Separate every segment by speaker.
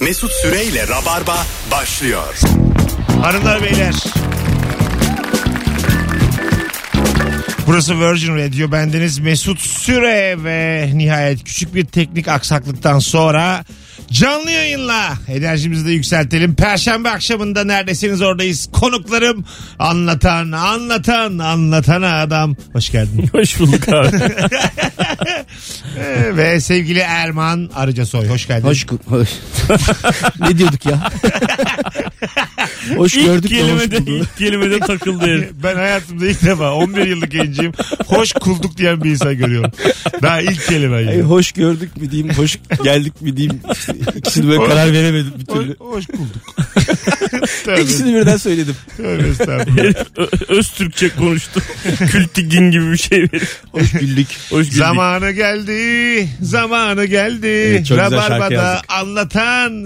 Speaker 1: Mesut Süreyle Rabarba başlıyor.
Speaker 2: Hanımlar beyler. Burası Virgin Radio. Bendeniz Mesut Süre ve nihayet küçük bir teknik aksaklıktan sonra canlı yayınla enerjimizi de yükseltelim. Perşembe akşamında neredesiniz oradayız. Konuklarım anlatan, anlatan, anlatana adam. Hoş geldin.
Speaker 3: Hoş bulduk abi.
Speaker 2: Ee, ve sevgili Erman Arıcasoy. Hoş geldin.
Speaker 4: Hoş, hoş. ne diyorduk ya? hoş
Speaker 3: ilk
Speaker 4: gördük de hoş
Speaker 3: kelimede,
Speaker 4: bulduk.
Speaker 3: ilk kelimede takıldı herif.
Speaker 2: Ben hayatımda ilk defa 11 yıllık genciyim. Hoş kulduk diyen bir insan görüyorum. Daha ilk kelime.
Speaker 4: Ay,
Speaker 2: yani.
Speaker 4: hoş gördük mü diyeyim, hoş geldik mi diyeyim. İşte İkisini böyle karar veremedim bir
Speaker 2: Hoş,
Speaker 4: türlü.
Speaker 2: hoş bulduk.
Speaker 4: İkisini birden söyledim.
Speaker 2: Öyle estağfurullah.
Speaker 3: Ö- Öz Türkçe konuştu. Kültik din gibi bir şey verip.
Speaker 4: Hoş güldük.
Speaker 3: Hoş güldük.
Speaker 2: zamanı geldi, zamanı geldi.
Speaker 4: Evet, çok güzel şarkı
Speaker 2: Rabarba'da
Speaker 4: yazdık.
Speaker 2: anlatan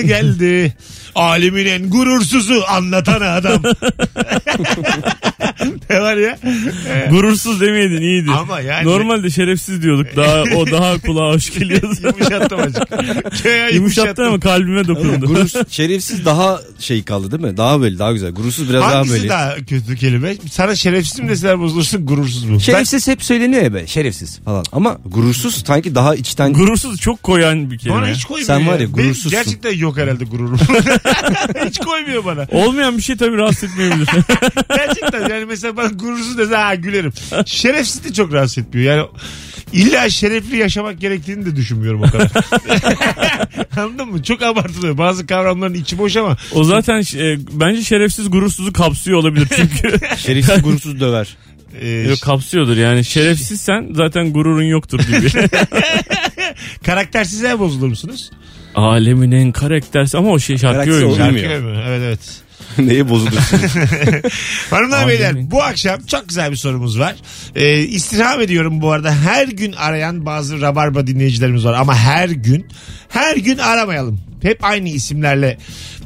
Speaker 2: geldi. Alimin en gurursuzu anlatan adam. ne var ya?
Speaker 3: Gurursuz demeydin iyiydi.
Speaker 2: Ama yani-
Speaker 3: Normalde şerefsiz diyorduk. Daha o daha kulağa hoş geliyordu.
Speaker 2: Yumuşattım azıcık. Köye
Speaker 3: Yumuşattı
Speaker 2: yumuşattım.
Speaker 3: ama kalbime dokundu.
Speaker 4: Gurur, şerefsiz daha şey kaldı değil mi? Daha böyle daha güzel. Gurursuz biraz daha
Speaker 2: Hangisi
Speaker 4: böyle.
Speaker 2: daha kötü kelime? Sana şerefsiz mi deseler bozulursun, gurursuz mu? Ben-
Speaker 4: Şerefsiz hep söyleniyor ya be. Şerefsiz falan. Ama gurursuz sanki daha içten
Speaker 3: Gurursuz çok koyan bir kelime.
Speaker 2: Bana hiç koymuyor.
Speaker 4: Sen var ya,
Speaker 2: Benim
Speaker 4: gurursuzsun.
Speaker 2: gerçekten yok herhalde gururum. hiç koymuyor bana.
Speaker 3: Olmayan bir şey tabii rahatsız etmeyebilir.
Speaker 2: Gerçekten yani mesela bana gurursuz dese ha gülerim. Şerefsiz de çok rahatsız etmiyor. Yani illa şerefli yaşamak gerektiğini de düşünmüyorum o kadar. Anladın mı? Çok abartılıyor. Bazı kavramların içi boş ama
Speaker 3: o zaten e, bence şerefsiz gurursuzu kapsıyor olabilir çünkü.
Speaker 4: şerefsiz gurursuz döver.
Speaker 2: e,
Speaker 3: Yok, kapsıyordur yani. Şerefsizsen zaten gururun yoktur gibi.
Speaker 2: karaktersize bozulur musunuz?
Speaker 3: Alemin en karaktersi ama o şey şarkı
Speaker 4: Karaktersiz
Speaker 3: öyle.
Speaker 4: olmuyor.
Speaker 2: Şarkı mı? Evet evet.
Speaker 4: Neye bozulursun?
Speaker 2: Hanımlar
Speaker 3: Aynen.
Speaker 2: beyler bu akşam çok güzel bir sorumuz var. Ee, istirham ediyorum bu arada her gün arayan bazı Rabarba dinleyicilerimiz var ama her gün her gün aramayalım. Hep aynı isimlerle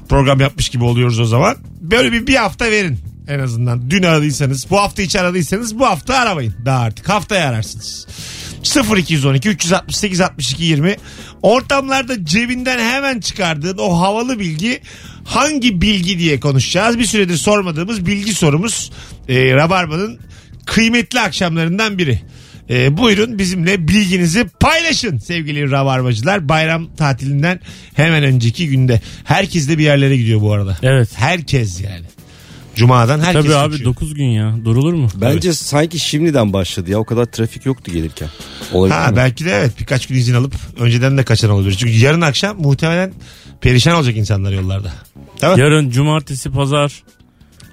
Speaker 2: program yapmış gibi oluyoruz o zaman. Böyle bir, bir hafta verin en azından. Dün aradıysanız bu hafta hiç aradıysanız bu hafta aramayın daha artık haftaya ararsınız. 0212 368 62 20 ortamlarda cebinden hemen çıkardığın o havalı bilgi hangi bilgi diye konuşacağız. Bir süredir sormadığımız bilgi sorumuz e, Rabarba'nın kıymetli akşamlarından biri. E, buyurun bizimle bilginizi paylaşın sevgili Rabarbacılar. Bayram tatilinden hemen önceki günde. Herkes de bir yerlere gidiyor bu arada.
Speaker 3: Evet.
Speaker 2: Herkes yani. Cuma'dan herkes
Speaker 3: Tabii abi
Speaker 2: uçuyor.
Speaker 3: 9 gün ya. Durulur mu?
Speaker 4: Bence sanki şimdiden başladı ya. O kadar trafik yoktu gelirken. Olabilir
Speaker 2: Ha
Speaker 4: mi?
Speaker 2: belki de evet birkaç gün izin alıp önceden de kaçan olabilir. Çünkü yarın akşam muhtemelen perişan olacak insanlar yollarda. Tamam.
Speaker 3: Yarın cumartesi pazar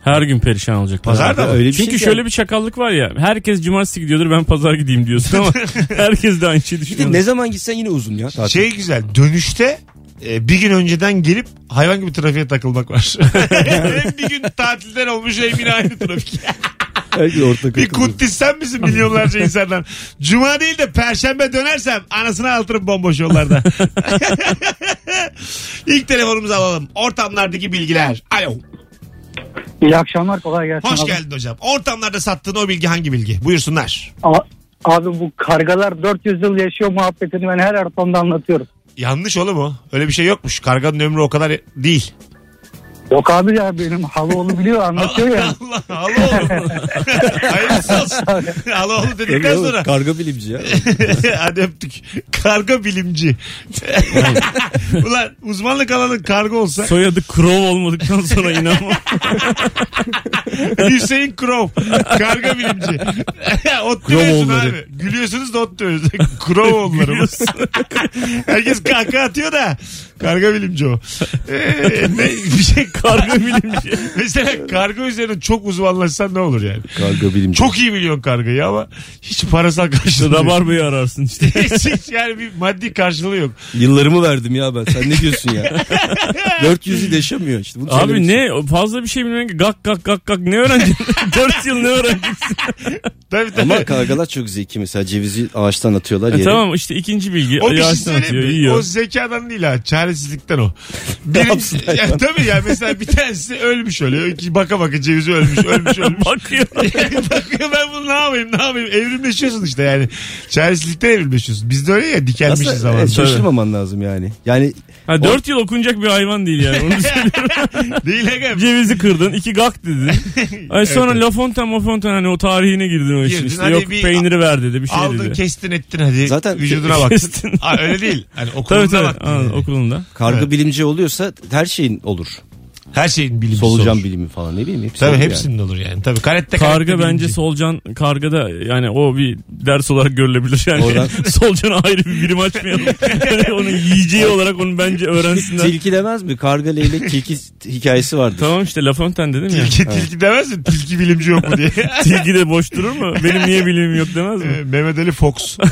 Speaker 3: her gün perişan olacak.
Speaker 2: Pazar da mı?
Speaker 4: Öyle bir
Speaker 3: Çünkü
Speaker 4: şey ki-
Speaker 3: şöyle bir çakallık var ya. Herkes cumartesi gidiyordur ben pazar gideyim diyorsun ama herkes de aynı şeyi
Speaker 4: Bir de
Speaker 3: düşünüyor.
Speaker 4: şey ne zaman gitsen yine uzun ya. tatil.
Speaker 2: Şey güzel dönüşte e, bir gün önceden gelip hayvan gibi trafiğe takılmak var. Hem bir gün tatilden olmuş hem yine aynı trafik.
Speaker 4: Her gün ortak
Speaker 2: bir
Speaker 4: akıllı.
Speaker 2: kutlis sen misin milyonlarca insandan? Cuma değil de perşembe dönersem anasını altırım bomboş yollarda. İlk telefonumuzu alalım. Ortamlardaki bilgiler. Alo.
Speaker 5: İyi akşamlar kolay gelsin.
Speaker 2: Hoş
Speaker 5: abi.
Speaker 2: geldin hocam. Ortamlarda sattığın o bilgi hangi bilgi? Buyursunlar.
Speaker 5: A- Abi bu kargalar 400 yıl yaşıyor muhabbetini ben her ortamda anlatıyorum.
Speaker 2: Yanlış oğlum o. Öyle bir şey yokmuş. Karganın ömrü o kadar değil.
Speaker 5: Yok abi ya benim halaoğlu biliyor anlatıyor ya.
Speaker 2: Allah Aloğlu. Hayırlısı olsun. Aloğlu
Speaker 4: Tabii
Speaker 2: dedikten
Speaker 4: oğlum,
Speaker 2: sonra.
Speaker 4: Karga bilimci ya.
Speaker 2: Hadi öptük. Karga bilimci. Ulan uzmanlık alanı karga olsa
Speaker 3: Soyadı Krov olmadıktan sonra inanma.
Speaker 2: Hüseyin Crow. Karga bilimci. ot
Speaker 4: Crow
Speaker 2: diyorsun
Speaker 4: oğulları.
Speaker 2: abi. Gülüyorsunuz da ot diyoruz. Crow oğulları. bu. Herkes kahkaha atıyor da karga bilimci o. Ee, ne, bir şey
Speaker 3: Karga bilimci.
Speaker 2: Mesela karga üzerine çok uzmanlaşsan ne olur yani?
Speaker 4: Karga bilimci.
Speaker 2: Çok iyi biliyorsun kargayı ama hiç parasal karşılığı yok.
Speaker 3: Rabarbayı ararsın işte.
Speaker 2: hiç, hiç yani bir maddi karşılığı yok.
Speaker 4: Yıllarımı verdim ya ben. Sen ne diyorsun ya? 400 yıl yaşamıyor işte. Bunu
Speaker 3: Abi
Speaker 4: söylemişsin.
Speaker 3: ne fazla bir şey bilmiyorum ki. Gak gak gak gak ne öğreneceksin? 4 yıl ne öğreneceksin?
Speaker 2: Tabii tabii.
Speaker 4: Ama kargalar çok zeki. Mesela cevizi ağaçtan atıyorlar
Speaker 3: E
Speaker 4: yere.
Speaker 3: tamam işte ikinci bilgi.
Speaker 2: o bir şey
Speaker 3: Yaşlı
Speaker 2: söyleyeyim
Speaker 3: atıyor,
Speaker 2: mi?
Speaker 3: yiyor.
Speaker 2: O zekadan değil ha. çaresizlikten o. Birinci,
Speaker 4: yapsın
Speaker 2: ya, tabii ya mesela bir tanesi ölmüş öyle. Ki Baka baka cevizi ölmüş ölmüş ölmüş.
Speaker 3: Bakıyor.
Speaker 2: Bakıyor ben bunu ne yapayım ne yapayım. Evrimleşiyorsun işte yani. Çaresizlikten evrimleşiyorsun. Biz de öyle ya dikelmişiz
Speaker 4: Aslında
Speaker 3: E,
Speaker 2: zamanında.
Speaker 4: evet, şaşırmaman lazım yani. Yani
Speaker 3: Ha, 4 yıl okunacak bir hayvan değil yani. Onu söyleyeyim.
Speaker 2: Değil Ege.
Speaker 3: Cevizi kırdın, iki gak dedin. Ay sonra La Fontaine, Ma Fontaine hani o tarihine girdin o işin
Speaker 2: Girdin,
Speaker 3: işte.
Speaker 2: hadi
Speaker 3: Yok
Speaker 2: bir-
Speaker 3: peyniri ver dedi, bir şey
Speaker 2: Aldın
Speaker 3: dedi.
Speaker 2: kestin ettin hadi.
Speaker 4: Zaten
Speaker 2: vücuduna bak.
Speaker 3: kestin.
Speaker 2: Aa, öyle değil. Hani okuluna
Speaker 3: Tabii tabii.
Speaker 2: baktın
Speaker 3: Ha,
Speaker 2: yani.
Speaker 3: okulunda.
Speaker 4: kargı bilimci oluyorsa her şeyin olur.
Speaker 2: Her şeyin bilimcisi
Speaker 4: Solucan
Speaker 2: olur.
Speaker 4: bilimi falan ne bileyim. Hepsi
Speaker 2: Tabii
Speaker 4: olur
Speaker 2: hepsinin olur yani. Tabii karette karette
Speaker 3: şey Karga bence
Speaker 2: bilimci.
Speaker 3: solcan karga da yani o bir ders olarak görülebilir yani.
Speaker 4: Oradan-
Speaker 3: Solcana ayrı bir birim açmayalım. Yani onun yiyeceği olarak onu bence
Speaker 4: Yani.
Speaker 3: öğrensinler.
Speaker 4: Tilki demez mi? Karga leylek tilki hikayesi vardır.
Speaker 3: tamam işte La Fontaine dedim ya.
Speaker 2: Tilki, tilki demez mi? Tilki bilimci yok mu diye.
Speaker 3: Tilki de boş durur mu? Benim niye bilimim yok demez mi?
Speaker 2: Ee, Mehmet Ali Fox.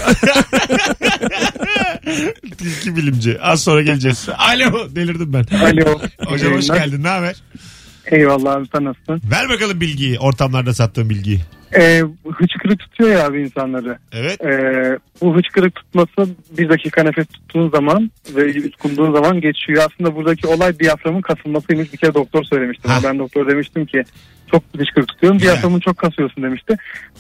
Speaker 2: Tilki bilimci. Az sonra geleceğiz. Alo delirdim ben.
Speaker 5: Alo.
Speaker 2: Hocam hoş
Speaker 5: Yayınlar.
Speaker 2: geldin. Ne haber?
Speaker 5: Eyvallah abi sen nasılsın?
Speaker 2: Ver bakalım bilgiyi. Ortamlarda sattığın bilgiyi.
Speaker 5: Ee, hıçkırık tutuyor ya abi insanları.
Speaker 2: Evet.
Speaker 5: Ee, bu hıçkırık tutması bir dakika nefes tuttuğun zaman ve yutkunduğun zaman geçiyor. Aslında buradaki olay diyaframın kasılmasıymış. Bir kere doktor söylemişti.
Speaker 2: Ha.
Speaker 5: Ben doktor demiştim ki çok hıçkırık tutuyorum. Diyaframın çok kasıyorsun demişti.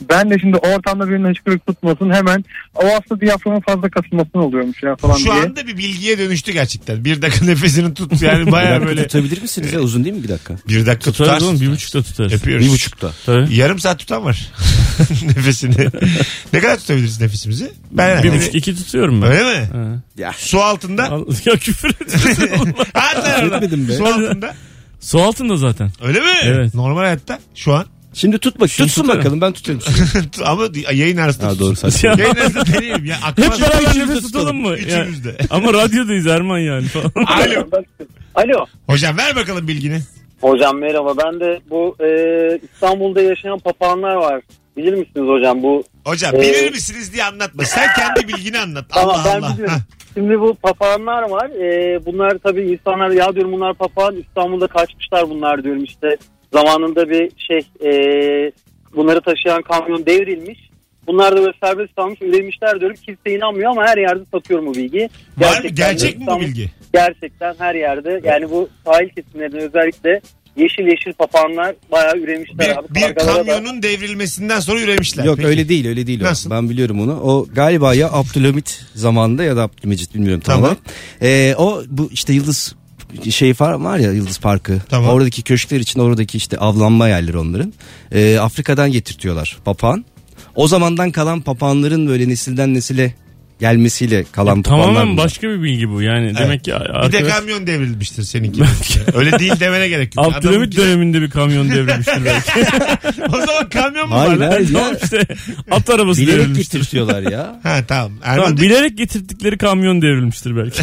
Speaker 5: Ben de şimdi ortamda birinin hıçkırık tutmasın hemen o aslında diyaframın fazla kasılmasını oluyormuş ya falan
Speaker 2: Şu
Speaker 5: diye.
Speaker 2: anda bir bilgiye dönüştü gerçekten. Bir dakika nefesini tut. Yani
Speaker 4: Bir
Speaker 2: baya
Speaker 4: dakika
Speaker 2: böyle.
Speaker 4: Tutabilir misiniz ya? Uzun değil mi bir dakika?
Speaker 2: Bir dakika tutar.
Speaker 3: Tutarız oğlum bir buçukta tutarız.
Speaker 2: Yapıyoruz.
Speaker 4: Bir buçukta.
Speaker 3: Tabii.
Speaker 2: Yarım saat tutan var. nefesini. ne kadar tutabiliriz nefesimizi? Ben
Speaker 3: Bir buçuk iki tutuyorum ben.
Speaker 2: Öyle mi?
Speaker 3: Ha.
Speaker 4: Ya.
Speaker 2: Su altında.
Speaker 3: Al- Ya küfür ediyorsun oğlum.
Speaker 2: Hatta
Speaker 4: Etmedim
Speaker 2: orada.
Speaker 4: be.
Speaker 2: Su altında.
Speaker 3: Su altında zaten.
Speaker 2: Öyle mi?
Speaker 3: Evet.
Speaker 2: Normal hayatta şu an.
Speaker 4: Şimdi tut bak. Tutsun
Speaker 3: tutarım.
Speaker 4: bakalım ben tutarım.
Speaker 2: Ama yayın arasında
Speaker 4: ha, doğru
Speaker 2: tutsun.
Speaker 4: saçma.
Speaker 3: Ya.
Speaker 2: Yayın arasında deneyelim ya. Aklıma
Speaker 3: Hep beraber
Speaker 4: üçümüz
Speaker 3: nefes tutalım
Speaker 4: tutalım.
Speaker 3: mı? Ya.
Speaker 2: Üçümüz de.
Speaker 3: Ama radyodayız Erman yani falan.
Speaker 2: Alo.
Speaker 6: Alo.
Speaker 2: Hocam ver bakalım bilgini.
Speaker 6: Hocam merhaba. Ben de bu e, İstanbul'da yaşayan papağanlar var. Bilir misiniz hocam bu?
Speaker 2: Hocam
Speaker 6: Ee,
Speaker 2: bilir misiniz diye anlatma. Sen kendi bilgini anlat.
Speaker 6: Tamam
Speaker 2: Allah
Speaker 6: ben
Speaker 2: Allah.
Speaker 6: biliyorum.
Speaker 2: Hah.
Speaker 6: Şimdi bu papağanlar var. E, bunlar tabii insanlar ya diyorum bunlar papağan İstanbul'da kaçmışlar bunlar diyorum işte. Zamanında bir şey e, bunları taşıyan kamyon devrilmiş. Bunlar da böyle serbest kalmış üremişler diyorum. Kimse inanmıyor ama her yerde satıyorum bu bilgiyi.
Speaker 2: Var mı?
Speaker 6: Gerçekten de
Speaker 2: Gerçek mi bu
Speaker 6: İstanbul-
Speaker 2: bilgi?
Speaker 6: Gerçekten her yerde yani bu sahil kesimlerinde özellikle yeşil yeşil papağanlar bayağı üremişler abi.
Speaker 2: Bir, bir
Speaker 6: Kargalara da-
Speaker 2: kamyonun devrilmesinden sonra üremişler.
Speaker 4: Yok
Speaker 2: Peki.
Speaker 4: öyle değil öyle değil. o.
Speaker 2: Nasıl?
Speaker 4: Ben biliyorum onu. O galiba ya Abdülhamit zamanında ya da Abdülmecit bilmiyorum tam
Speaker 2: Tamam.
Speaker 4: olarak. Ee, o bu işte Yıldız şey falan var ya Yıldız Parkı.
Speaker 2: Tamam.
Speaker 4: Oradaki köşkler için oradaki işte avlanma yerleri onların. Ee, Afrika'dan getirtiyorlar papağan. O zamandan kalan papağanların böyle nesilden nesile gelmesiyle kalan papağanlar.
Speaker 3: Tamamen
Speaker 4: bunlar.
Speaker 3: başka bir bilgi bu yani. Demek ki
Speaker 2: Bir de
Speaker 3: arkadaş...
Speaker 2: kamyon devrilmiştir seninki. öyle değil demene gerek yok. Adamın
Speaker 3: Abdülhamit döneminde bir kamyon devrilmiştir belki.
Speaker 2: O zaman kamyon mu var
Speaker 4: Hayır
Speaker 2: lan?
Speaker 4: hayır ya.
Speaker 3: tamam işte at arabası
Speaker 4: Bilerek
Speaker 3: devrilmiştir.
Speaker 4: getirtiyorlar ya.
Speaker 2: Ha tamam. Erman
Speaker 3: Tamam,
Speaker 2: de-
Speaker 3: bilerek getirdikleri kamyon devrilmiştir belki.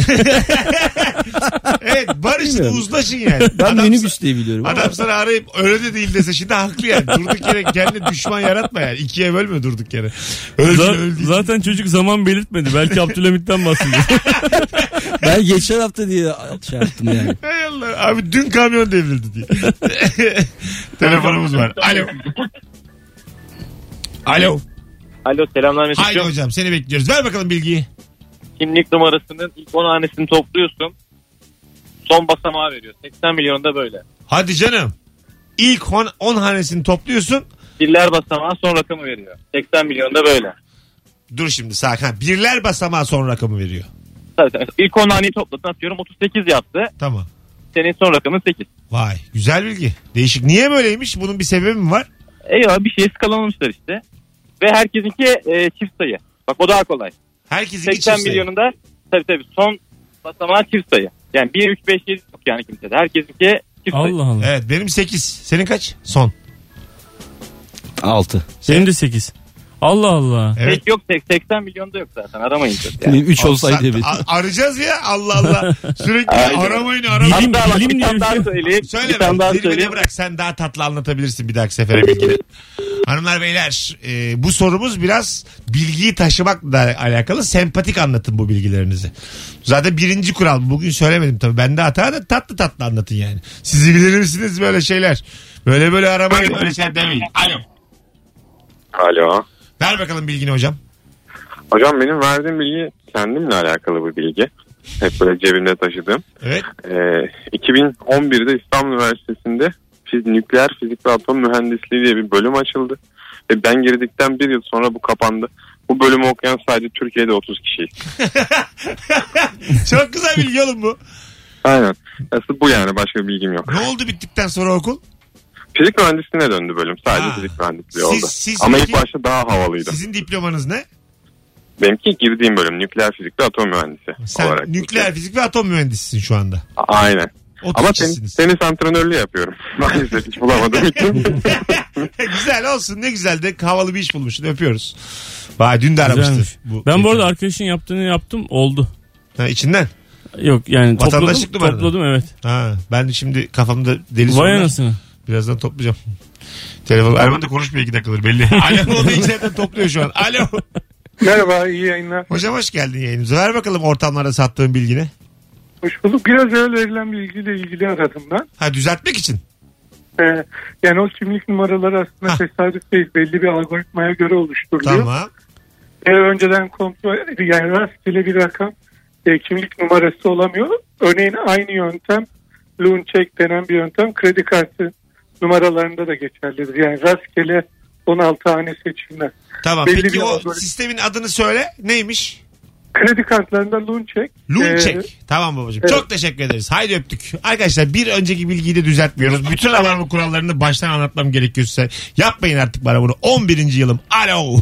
Speaker 2: evet Barış
Speaker 4: Bilmiyorum.
Speaker 2: uzlaşın yani.
Speaker 4: Ben
Speaker 2: Adam-
Speaker 4: minibüs diye biliyorum. ama-
Speaker 2: Adam sana arayıp öyle de değil dese şimdi haklı yani. Durduk yere kendine düşman yaratma yani. İkiye bölme durduk yere. Öldü
Speaker 3: Za-
Speaker 2: öldü.
Speaker 3: zaten çocuk zaman belirtmedi. Belki Abdülhamit'ten bahsediyor.
Speaker 4: Ben geçen hafta diye şey yaptım yani.
Speaker 2: Hay Allah. Abi dün kamyon devrildi diye. Telefonumuz var. Alo. Alo.
Speaker 7: Alo selamlar
Speaker 2: Haydi
Speaker 7: Mesut'cum.
Speaker 2: hocam seni bekliyoruz. Ver bakalım bilgiyi.
Speaker 7: Kimlik numarasının ilk 10 hanesini topluyorsun. Son basamağı veriyor. 80 milyonda böyle.
Speaker 2: Hadi canım. İlk 10 hanesini topluyorsun.
Speaker 7: Birler basamağı son rakamı veriyor. 80 milyonda böyle.
Speaker 2: Dur şimdi sakin. Ha, Birler basamağı son rakamı veriyor.
Speaker 7: Tabii, tabii. İlk 10 haneyi topladın atıyorum 38 yaptı.
Speaker 2: Tamam.
Speaker 7: Senin son rakamın 8.
Speaker 2: Vay güzel bilgi. Değişik. Niye böyleymiş? Bunun bir sebebi mi var?
Speaker 7: Eyvah bir şey skalalamışlar işte. Ve herkesinki e, çift sayı. Bak o daha kolay.
Speaker 2: Herkesin
Speaker 7: 80 milyonunda tabii tabii son basamağı çift sayı. Yani 1, 3, 5, 7 yok yani kimsede. Herkesinki çift sayı.
Speaker 3: Allah Allah.
Speaker 2: Evet benim 8. Senin kaç? Son.
Speaker 4: 6.
Speaker 3: Benim de 8. Allah Allah.
Speaker 2: Evet.
Speaker 7: Tek yok tek 80 milyonda yok zaten aramayın. çok Yani.
Speaker 4: 3 olsaydı
Speaker 2: Sa-
Speaker 4: evet.
Speaker 2: a- arayacağız ya Allah Allah. Sürekli
Speaker 7: Aynen.
Speaker 2: aramayın aramayın.
Speaker 3: Bilim-
Speaker 7: Hatta bak
Speaker 3: bilim
Speaker 7: bir
Speaker 3: diye bir
Speaker 7: tane daha
Speaker 3: şey yok.
Speaker 7: söyleyeyim.
Speaker 2: Söyle
Speaker 7: bir tane daha
Speaker 2: ben.
Speaker 7: söyleyeyim.
Speaker 2: Zirveye bırak sen daha tatlı anlatabilirsin bir dahaki sefere bilgini. Hanımlar beyler e, bu sorumuz biraz bilgiyi taşımakla alakalı sempatik anlatın bu bilgilerinizi. Zaten birinci kural bugün söylemedim tabii bende hata da tatlı tatlı anlatın yani. Sizi bilir misiniz böyle şeyler? Böyle böyle aramayın böyle
Speaker 7: şey
Speaker 2: şeyler demeyin. Alo.
Speaker 8: Alo.
Speaker 2: Ver bakalım bilgini hocam.
Speaker 8: Hocam benim verdiğim bilgi kendimle alakalı bir bilgi. Hep böyle cebimde taşıdım.
Speaker 2: Evet.
Speaker 8: Ee, 2011'de İstanbul Üniversitesi'nde fiz- nükleer fizik ve atom mühendisliği diye bir bölüm açıldı. Ve ben girdikten bir yıl sonra bu kapandı. Bu bölümü okuyan sadece Türkiye'de 30 kişi.
Speaker 2: Çok güzel bilgi oğlum bu.
Speaker 8: Aynen. Aslında bu yani başka bir bilgim yok.
Speaker 2: Ne oldu bittikten sonra okul?
Speaker 8: Fizik mühendisliğine döndü bölüm. Sadece
Speaker 2: Ha.
Speaker 8: fizik mühendisliği
Speaker 2: Siz-
Speaker 8: oldu.
Speaker 2: siz
Speaker 8: Ama
Speaker 2: peki-
Speaker 8: ilk başta daha havalıydı.
Speaker 2: Sizin diplomanız ne?
Speaker 8: Benimki girdiğim bölüm nükleer fizik ve atom mühendisi
Speaker 2: Sen
Speaker 8: olarak.
Speaker 2: nükleer fizik ve atom mühendisisin şu anda.
Speaker 8: Aynen. Ama tenis,
Speaker 2: Otuzcisiniz.
Speaker 8: tenis antrenörlüğü yapıyorum. Maalesef hiç bulamadığım için.
Speaker 2: güzel olsun ne güzel de havalı bir iş bulmuşsun öpüyoruz. Vay dün de aramıştı.
Speaker 3: Güzelmiş.
Speaker 2: Bu
Speaker 3: Ben bu arada arkadaşın yaptığını yaptım oldu.
Speaker 2: Ha, içinden.
Speaker 3: Yok yani topladım,
Speaker 2: Vatandaşlık numaranı.
Speaker 3: topladım evet.
Speaker 2: Ha, ben şimdi kafamda deli
Speaker 3: Vay
Speaker 2: sorular.
Speaker 3: anasını.
Speaker 2: Birazdan toplayacağım. Telefon. Erman da konuşmuyor iki dakikadır belli. Alo onu içeriden topluyor şu an. Alo.
Speaker 5: Merhaba iyi yayınlar.
Speaker 2: Hocam hoş geldin yayınımıza. Ver bakalım ortamlarda sattığın bilgini.
Speaker 5: Hoş bulduk. Biraz evvel verilen bilgiyle ilgili aradım ben.
Speaker 2: Ha düzeltmek için.
Speaker 5: Ee, yani o kimlik numaraları aslında
Speaker 2: Hah.
Speaker 5: tesadüf değil. Belli bir algoritmaya göre oluşturuluyor.
Speaker 2: Tamam.
Speaker 5: Ee, önceden kontrol yani rastgele bir rakam e, kimlik numarası olamıyor. Örneğin aynı yöntem loan check denen bir yöntem kredi kartı numaralarında da geçerlidir. Yani rastgele 16 hane seçilmez.
Speaker 2: Tamam.
Speaker 5: Belli bir
Speaker 2: Peki o
Speaker 5: algoritma.
Speaker 2: sistemin adını söyle. Neymiş?
Speaker 5: Kredi kartlarında loan check.
Speaker 9: Ee,
Speaker 5: e,
Speaker 2: Lunçek. tamam babacığım.
Speaker 5: evet.
Speaker 2: Çok teşekkür ederiz. Haydi öptük. Arkadaşlar bir önceki bilgiyi de düzeltmiyoruz. Bütün alarm kurallarını baştan anlatmam gerekiyorsa yapmayın artık bana bunu. 11. yılım. Alo.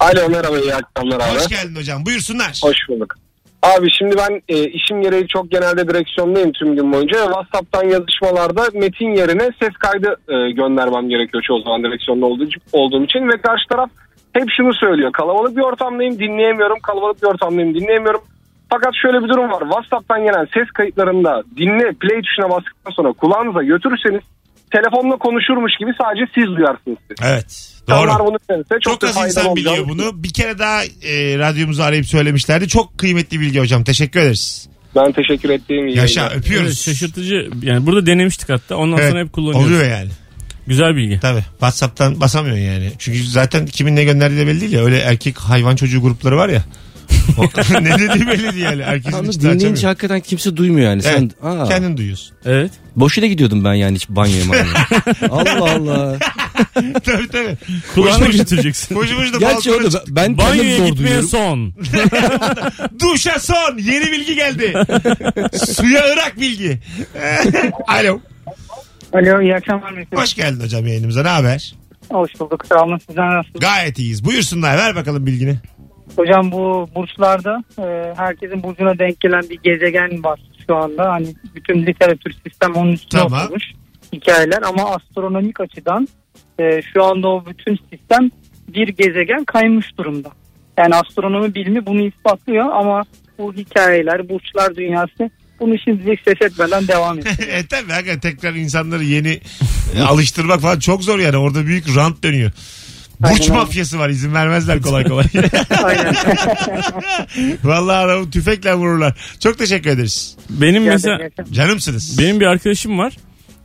Speaker 9: Alo merhaba iyi akşamlar abi.
Speaker 2: Hoş geldin hocam. Buyursunlar.
Speaker 9: Hoş bulduk. Abi şimdi ben e, işim gereği çok genelde direksiyondayım tüm gün boyunca. ve WhatsApp'tan yazışmalarda metin yerine ses kaydı e, göndermem gerekiyor çoğu zaman direksiyonda olduğu, olduğum için. Ve karşı taraf hep şunu söylüyor. Kalabalık bir ortamdayım dinleyemiyorum. Kalabalık bir ortamdayım dinleyemiyorum. Fakat şöyle bir durum var. WhatsApp'tan gelen ses kayıtlarında dinle play tuşuna bastıktan sonra kulağınıza götürürseniz telefonla konuşurmuş gibi sadece siz duyarsınız. siz.
Speaker 2: Evet. Doğru.
Speaker 9: İnsanlar bunu denirse
Speaker 2: Çok
Speaker 9: da
Speaker 2: az
Speaker 9: faydalı
Speaker 2: insan
Speaker 9: olacağını
Speaker 2: biliyor bunu. Bir kere daha e, radyomuzu arayıp söylemişlerdi. Çok kıymetli bilgi hocam. Teşekkür ederiz.
Speaker 9: Ben teşekkür ettiğim iyi
Speaker 2: Yaşa
Speaker 9: yayınlar.
Speaker 3: Evet,
Speaker 2: öpüyoruz.
Speaker 3: şaşırtıcı yani burada denemiştik hatta ondan
Speaker 2: Evet,
Speaker 3: sonra hep kullanıyoruz.
Speaker 2: Oluyor yani.
Speaker 3: Güzel bilgi.
Speaker 2: Tabii. WhatsApp'tan basamıyorsun yani. Çünkü zaten kimin ne gönderdiği de belli değil ya. Öyle erkek hayvan çocuğu grupları var ya. O- ne dediği belli değil yani. Herkesin
Speaker 4: Ama
Speaker 2: içinde açamıyor.
Speaker 4: dinleyince hakikaten kimse duymuyor yani. Sen,
Speaker 2: Evet.
Speaker 4: aa,
Speaker 2: Kendin duyuyorsun.
Speaker 3: Evet.
Speaker 4: Boşuna gidiyordum ben yani hiç banyoya manyoya. Allah Allah.
Speaker 2: tabii tabii.
Speaker 3: Kulağına götüreceksin.
Speaker 2: Boşu boşuna
Speaker 4: Gerçi
Speaker 2: balkona
Speaker 4: orada
Speaker 2: çık-
Speaker 4: ben- ben
Speaker 3: Banyoya
Speaker 4: kendim zor
Speaker 3: gitmeye
Speaker 4: duyuyorum.
Speaker 3: son.
Speaker 2: Duşa son. Yeni bilgi geldi. Suya ırak bilgi. Alo.
Speaker 10: Alo iyi akşamlar. Mesut.
Speaker 2: Hoş geldin hocam yayınımıza. Ne haber?
Speaker 10: Hoş bulduk. Sağ olun. Sizden nasılsınız?
Speaker 2: Gayet iyiyiz. Buyursunlar. Ver bakalım bilgini.
Speaker 10: Hocam bu burçlarda e, herkesin burcuna denk gelen bir gezegen var şu anda. Hani bütün literatür sistem onun üstüne
Speaker 2: Tamam.
Speaker 10: oturmuş hikayeler ama astronomik açıdan e, şu anda o bütün sistem bir gezegen kaymış durumda. Yani astronomi bilimi bunu ispatlıyor ama bu hikayeler, burçlar dünyası bunu şimdilik ses etmeden devam ediyor.
Speaker 2: e tabii hakikaten tekrar insanları yeni e, alıştırmak falan çok zor yani. Orada büyük rant dönüyor. Burç
Speaker 10: Aynen öyle.
Speaker 2: mafyası var izin vermezler kolay kolay.
Speaker 10: Aynen.
Speaker 2: Vallahi adamı tüfekle vururlar. Çok teşekkür ederiz.
Speaker 3: Benim mesela
Speaker 2: Canımsınız.
Speaker 3: benim bir arkadaşım var.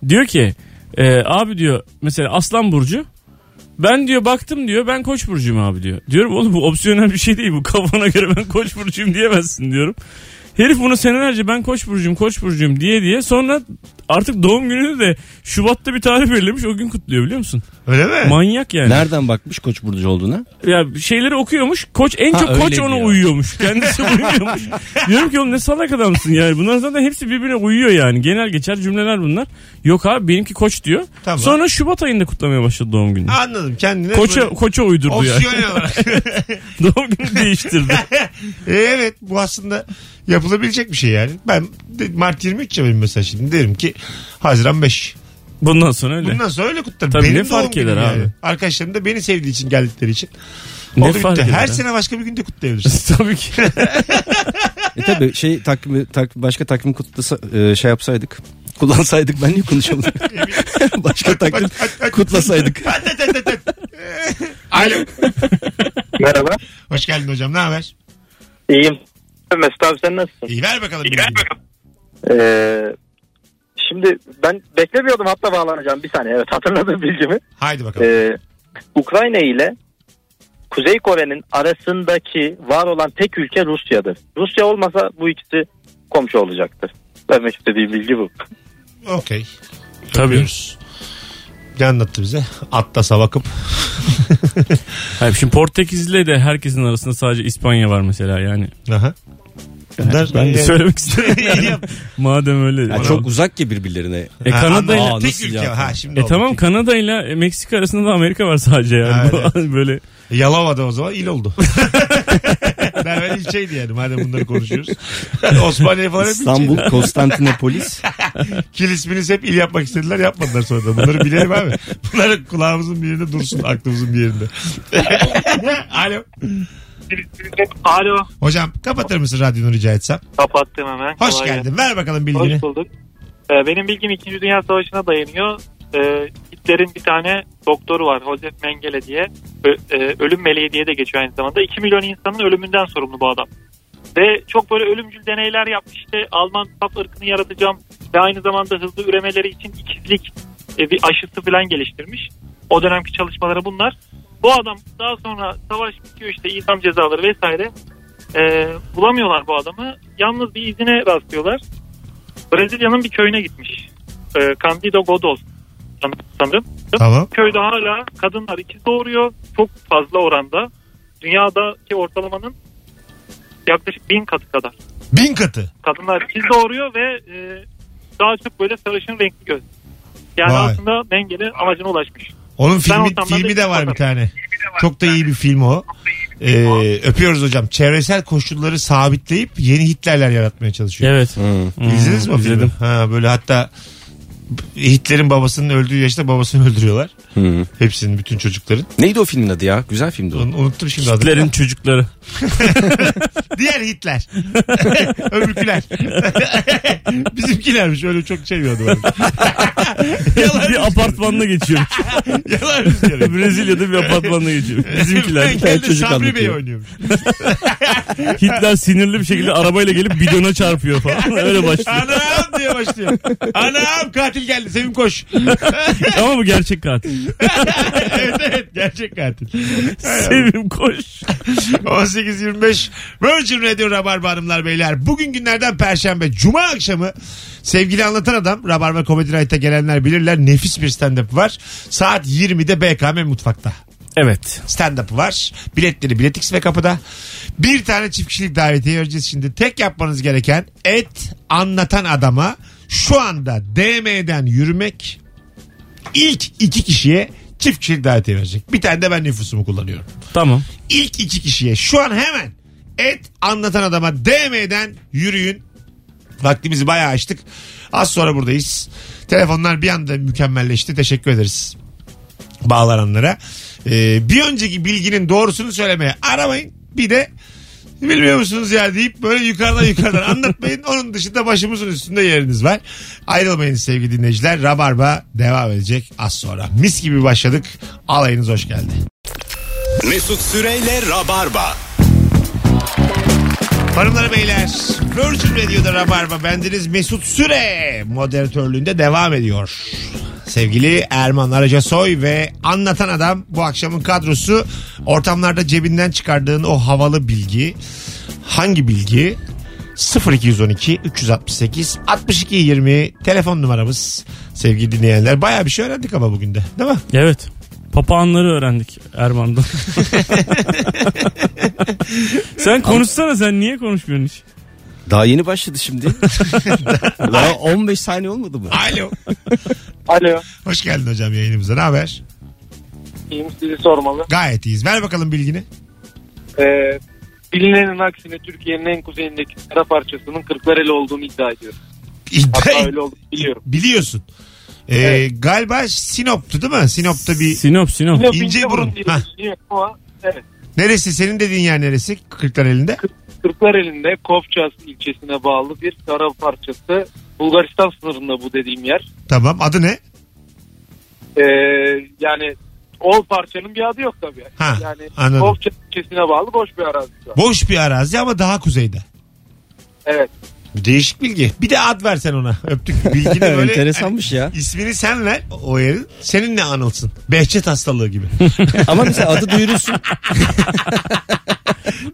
Speaker 3: Diyor ki e, abi diyor mesela Aslan Burcu. Ben diyor baktım diyor ben Koç Burcu'yum abi diyor. Diyorum oğlum bu opsiyonel bir şey değil bu kafana göre ben Koç Burcu'yum diyemezsin diyorum. Herif bunu senelerce ben Koç Burcu'yum Koç Burcu'yum diye diye sonra artık doğum gününü de Şubat'ta bir tarih belirlemiş o gün kutluyor biliyor musun?
Speaker 2: Öyle mi?
Speaker 3: Manyak yani.
Speaker 4: Nereden bakmış koç burcu olduğuna?
Speaker 3: ya şeyleri okuyormuş. Koç en
Speaker 4: Ha,
Speaker 3: çok koç
Speaker 4: öyle
Speaker 3: ona
Speaker 4: diyor.
Speaker 3: uyuyormuş. Kendisi uyumuyormuş. Diyorum ki oğlum ne salak adamsın yani. Bunlar zaten hepsi birbirine uyuyor yani. Genel geçer cümleler bunlar. Yok abi benimki koç diyor.
Speaker 2: Tamam.
Speaker 3: Sonra Şubat ayında kutlamaya başladı doğum gününü.
Speaker 2: Anladım kendine.
Speaker 3: Koça,
Speaker 2: böyle
Speaker 3: koça uydurdu yani.
Speaker 2: Opsiyonel olarak.
Speaker 3: doğum günü değiştirdi.
Speaker 2: E, evet bu aslında yapılabilecek bir şey yani. Ben de- Mart 23 ya benim mesela şimdi derim ki Haziran 5.
Speaker 3: Bundan sonra öyle.
Speaker 2: Bundan sonra öyle kutlarım.
Speaker 3: Tabii,
Speaker 2: benim
Speaker 3: ne fark
Speaker 2: doğum günüm
Speaker 3: eder abi?
Speaker 2: Yani. Arkadaşlarım da beni sevdiği için geldikleri için.
Speaker 3: Ne
Speaker 2: Oldu bitti.
Speaker 3: fark eder ha?
Speaker 2: Her sene başka bir günde kutlayabilirsin.
Speaker 3: Tabii ki.
Speaker 4: E tabi şey takvimi, tak, başka takvim kutlasa, e, şey yapsaydık. Kullansaydık ben niye konuşamadım? başka takvim kutlasaydık.
Speaker 2: Alo.
Speaker 5: Merhaba.
Speaker 2: Hoş geldin hocam ne haber?
Speaker 7: İyiyim. Mesut abi sen nasılsın?
Speaker 2: İyi ver bakalım. bilgiyi.
Speaker 7: Ee, şimdi ben beklemiyordum hatta bağlanacağım. Bir saniye evet hatırladım bilgimi.
Speaker 2: Haydi bakalım.
Speaker 7: Ee, Ukrayna ile Kuzey Kore'nin arasındaki var olan tek ülke Rusya'dır. Rusya olmasa bu ikisi komşu olacaktır. Vermek istediğim bilgi bu.
Speaker 2: Okey.
Speaker 3: Tabii.
Speaker 2: Öpüyoruz. Ne anlattı bize? Atlasa bakıp.
Speaker 3: Hayır, şimdi Portekiz'le de herkesin arasında sadece İspanya var mesela yani.
Speaker 2: Aha. Bunlar
Speaker 3: Ben de
Speaker 2: Yani-
Speaker 3: söylemek istedim.
Speaker 2: İyi
Speaker 3: yani.
Speaker 2: yap-
Speaker 3: Madem öyle.
Speaker 4: Yani çok uzak ki birbirlerine.
Speaker 3: E
Speaker 2: Ha,
Speaker 3: Kanada
Speaker 2: ama
Speaker 4: Aa,
Speaker 2: tek
Speaker 4: nasıl
Speaker 2: ülke.
Speaker 4: ya?
Speaker 2: Ha, şimdi
Speaker 3: E
Speaker 2: oldu.
Speaker 3: tamam Kanada ile Meksika arasında da Amerika var sadece yani. Bu- Böyle
Speaker 2: E, Yalova'da o zaman il oldu. Dervel ilçeydi yani madem bunları konuşuyoruz. Osmaniye falan hep
Speaker 4: İstanbul,
Speaker 2: ilçeydi.
Speaker 4: Konstantinopolis.
Speaker 2: Kilisminiz hep il yapmak istediler yapmadılar sonra da. Bunları bilelim abi. Bunları kulağımızın bir yerinde dursun aklımızın bir yerinde. Alo.
Speaker 7: Alo
Speaker 2: Hocam kapatır mısın radyonu rica etsem?
Speaker 7: kapattım hemen.
Speaker 2: Hoş
Speaker 7: Kolay gelsin.
Speaker 2: geldin. Ver bakalım bilgini.
Speaker 7: Hoş bulduk. Ee, benim bilgim 2. Dünya Savaşı'na dayanıyor. Ee, Hitler'in bir tane doktoru var Josef Mengele diye. Ö- e, ölüm meleği diye de geçiyor aynı zamanda. 2 milyon insanın ölümünden sorumlu bu adam. Ve çok böyle ölümcül deneyler yapmış. İşte Alman saf ırkını yaratacağım ve aynı zamanda hızlı üremeleri için ikizlik e, bir aşısı falan geliştirmiş. O dönemki çalışmaları bunlar. Bu adam daha sonra savaş bitiyor işte idam cezaları vesaire. Ee, bulamıyorlar bu adamı. Yalnız bir izine rastlıyorlar. Brezilya'nın bir köyüne gitmiş. Ee, Candido Godos san- sanırım.
Speaker 2: Tamam.
Speaker 7: Köyde hala kadınlar ikiz doğuruyor. Çok fazla oranda. Dünyadaki ortalamanın yaklaşık bin katı kadar.
Speaker 2: Bin katı.
Speaker 7: Kadınlar ikiz doğuruyor ve e, daha çok böyle sarışın renkli göz. Yani
Speaker 2: Vay.
Speaker 7: aslında Mengele amacına ulaşmış.
Speaker 2: Onun
Speaker 7: Ben
Speaker 2: filmi,
Speaker 7: olsam ben
Speaker 2: filmi
Speaker 7: de
Speaker 2: de var bir
Speaker 7: yaparım.
Speaker 2: tane. Çok da iyi bir film o. Ee, öpüyoruz hocam. Çevresel koşulları sabitleyip yeni Hitlerler yaratmaya çalışıyor.
Speaker 3: evet. Hmm.
Speaker 2: İzlediniz mi o filmi?
Speaker 3: izledim.
Speaker 2: Ha, böyle hatta Hitler'in babasının öldüğü yaşta babasını öldürüyorlar.
Speaker 3: Hmm.
Speaker 4: Hı.
Speaker 2: Hepsinin bütün çocukların.
Speaker 4: Neydi o filmin adı ya? Güzel filmdi o.
Speaker 2: Onu unuttum şimdi adını.
Speaker 3: Hitler'in çocukları.
Speaker 2: Diğer Hitler. Öbürküler. Bizimkilermiş öyle çok şey bir adı var. yalan,
Speaker 3: bir apartmanda geçiyor.
Speaker 2: yalan rüzgarı.
Speaker 3: Brezilya'da bir apartmanda geçiyor. Bizimkiler.
Speaker 2: Ben geldim,
Speaker 4: çocuk
Speaker 2: Sabri Bey
Speaker 4: anlatıyor.
Speaker 2: oynuyormuş.
Speaker 3: Hitler sinirli bir şekilde arabayla gelip bidona çarpıyor falan. Öyle başlıyor.
Speaker 2: Anam diye başlıyor. Anam katil geldi Sevim koş.
Speaker 3: Ama bu gerçek katil.
Speaker 2: evet evet gerçek katil.
Speaker 3: Sevim koş.
Speaker 2: 18.25 Virgin Radio Rabarba Hanımlar Beyler. Bugün günlerden Perşembe. Cuma akşamı sevgili anlatan adam Rabarba Comedy Night'a gelenler bilirler. Nefis bir stand-up var. Saat 20'de BKM Mutfak'ta.
Speaker 3: Evet.
Speaker 2: stand-up var. Biletleri Biletix ve kapıda. Bir tane çift kişilik davetiye vereceğiz şimdi. Tek yapmanız gereken et anlatan adama şu anda DM'den yürümek ilk iki kişiye çift kişilik davetiye verecek. Bir tane de ben nüfusumu kullanıyorum.
Speaker 3: Tamam.
Speaker 2: İlk iki kişiye şu an hemen et anlatan adama DM'den yürüyün. Vaktimizi bayağı açtık. Az sonra buradayız. Telefonlar bir anda mükemmelleşti. Teşekkür ederiz bağlananlara. Ee, bir önceki bilginin doğrusunu söylemeye aramayın. Bir de bilmiyor musunuz ya deyip böyle yukarıdan yukarıdan anlatmayın. Onun dışında başımızın üstünde yeriniz var. Ayrılmayın sevgili dinleyiciler. Rabarba devam edecek az sonra. Mis gibi başladık. Alayınız hoş geldi.
Speaker 1: Mesut Süreyle Rabarba.
Speaker 2: Hanımlar beyler Virgin Radio'da Rabarba bendeniz Mesut Süre moderatörlüğünde devam ediyor. Sevgili Erman Araca Soy ve Anlatan Adam bu akşamın kadrosu ortamlarda cebinden çıkardığın o havalı bilgi hangi bilgi? 0212 368 62 20 telefon numaramız sevgili dinleyenler. Baya bir şey öğrendik ama bugün de değil mi?
Speaker 3: Evet. Papağanları öğrendik Erman'dan. sen konuşsana sen niye konuşmuyorsun hiç?
Speaker 4: Daha yeni başladı şimdi. Daha 15 saniye olmadı mı?
Speaker 2: Alo.
Speaker 5: Alo.
Speaker 2: Hoş geldin hocam yayınımıza ne haber?
Speaker 5: İyiyim sizi sormalı.
Speaker 2: Gayet iyiyiz. Ver bakalım bilgini.
Speaker 5: Ee, bilinenin aksine Türkiye'nin en kuzeyindeki kara parçasının Kırklareli olduğunu iddia ediyorum. Hatta
Speaker 2: İddia,
Speaker 5: öyle olduğunu biliyorum.
Speaker 2: biliyorsun. Ee, Galiba Sinop'tu değil mi? Sinop'ta bir...
Speaker 3: Sinop Sinop.
Speaker 5: Yok,
Speaker 2: İnce
Speaker 5: İnceburun
Speaker 2: burun.
Speaker 5: diye
Speaker 2: Hah.
Speaker 5: düşünüyorum ama evet.
Speaker 2: Neresi? Senin dediğin yer neresi? Kırklar elinde.
Speaker 5: Kırklareli'nde Kofças ilçesine bağlı bir kara parçası. Bulgaristan sınırında bu dediğim yer.
Speaker 2: Tamam. Adı ne?
Speaker 5: Ee, yani o parçanın bir adı yok tabii.
Speaker 2: Ha,
Speaker 5: yani
Speaker 2: anladım.
Speaker 5: Kofças ilçesine bağlı boş bir arazi var.
Speaker 2: Boş bir arazi ama daha kuzeyde.
Speaker 5: Evet.
Speaker 2: Değişik bilgi. Bir de ad versen ona. Öptük. Bilgini böyle
Speaker 4: Enteresanmış ya.
Speaker 2: İsmini sen ver o yerin. Seninle anılsın. Behçet hastalığı gibi.
Speaker 4: Ama mesela adı duyurulsun.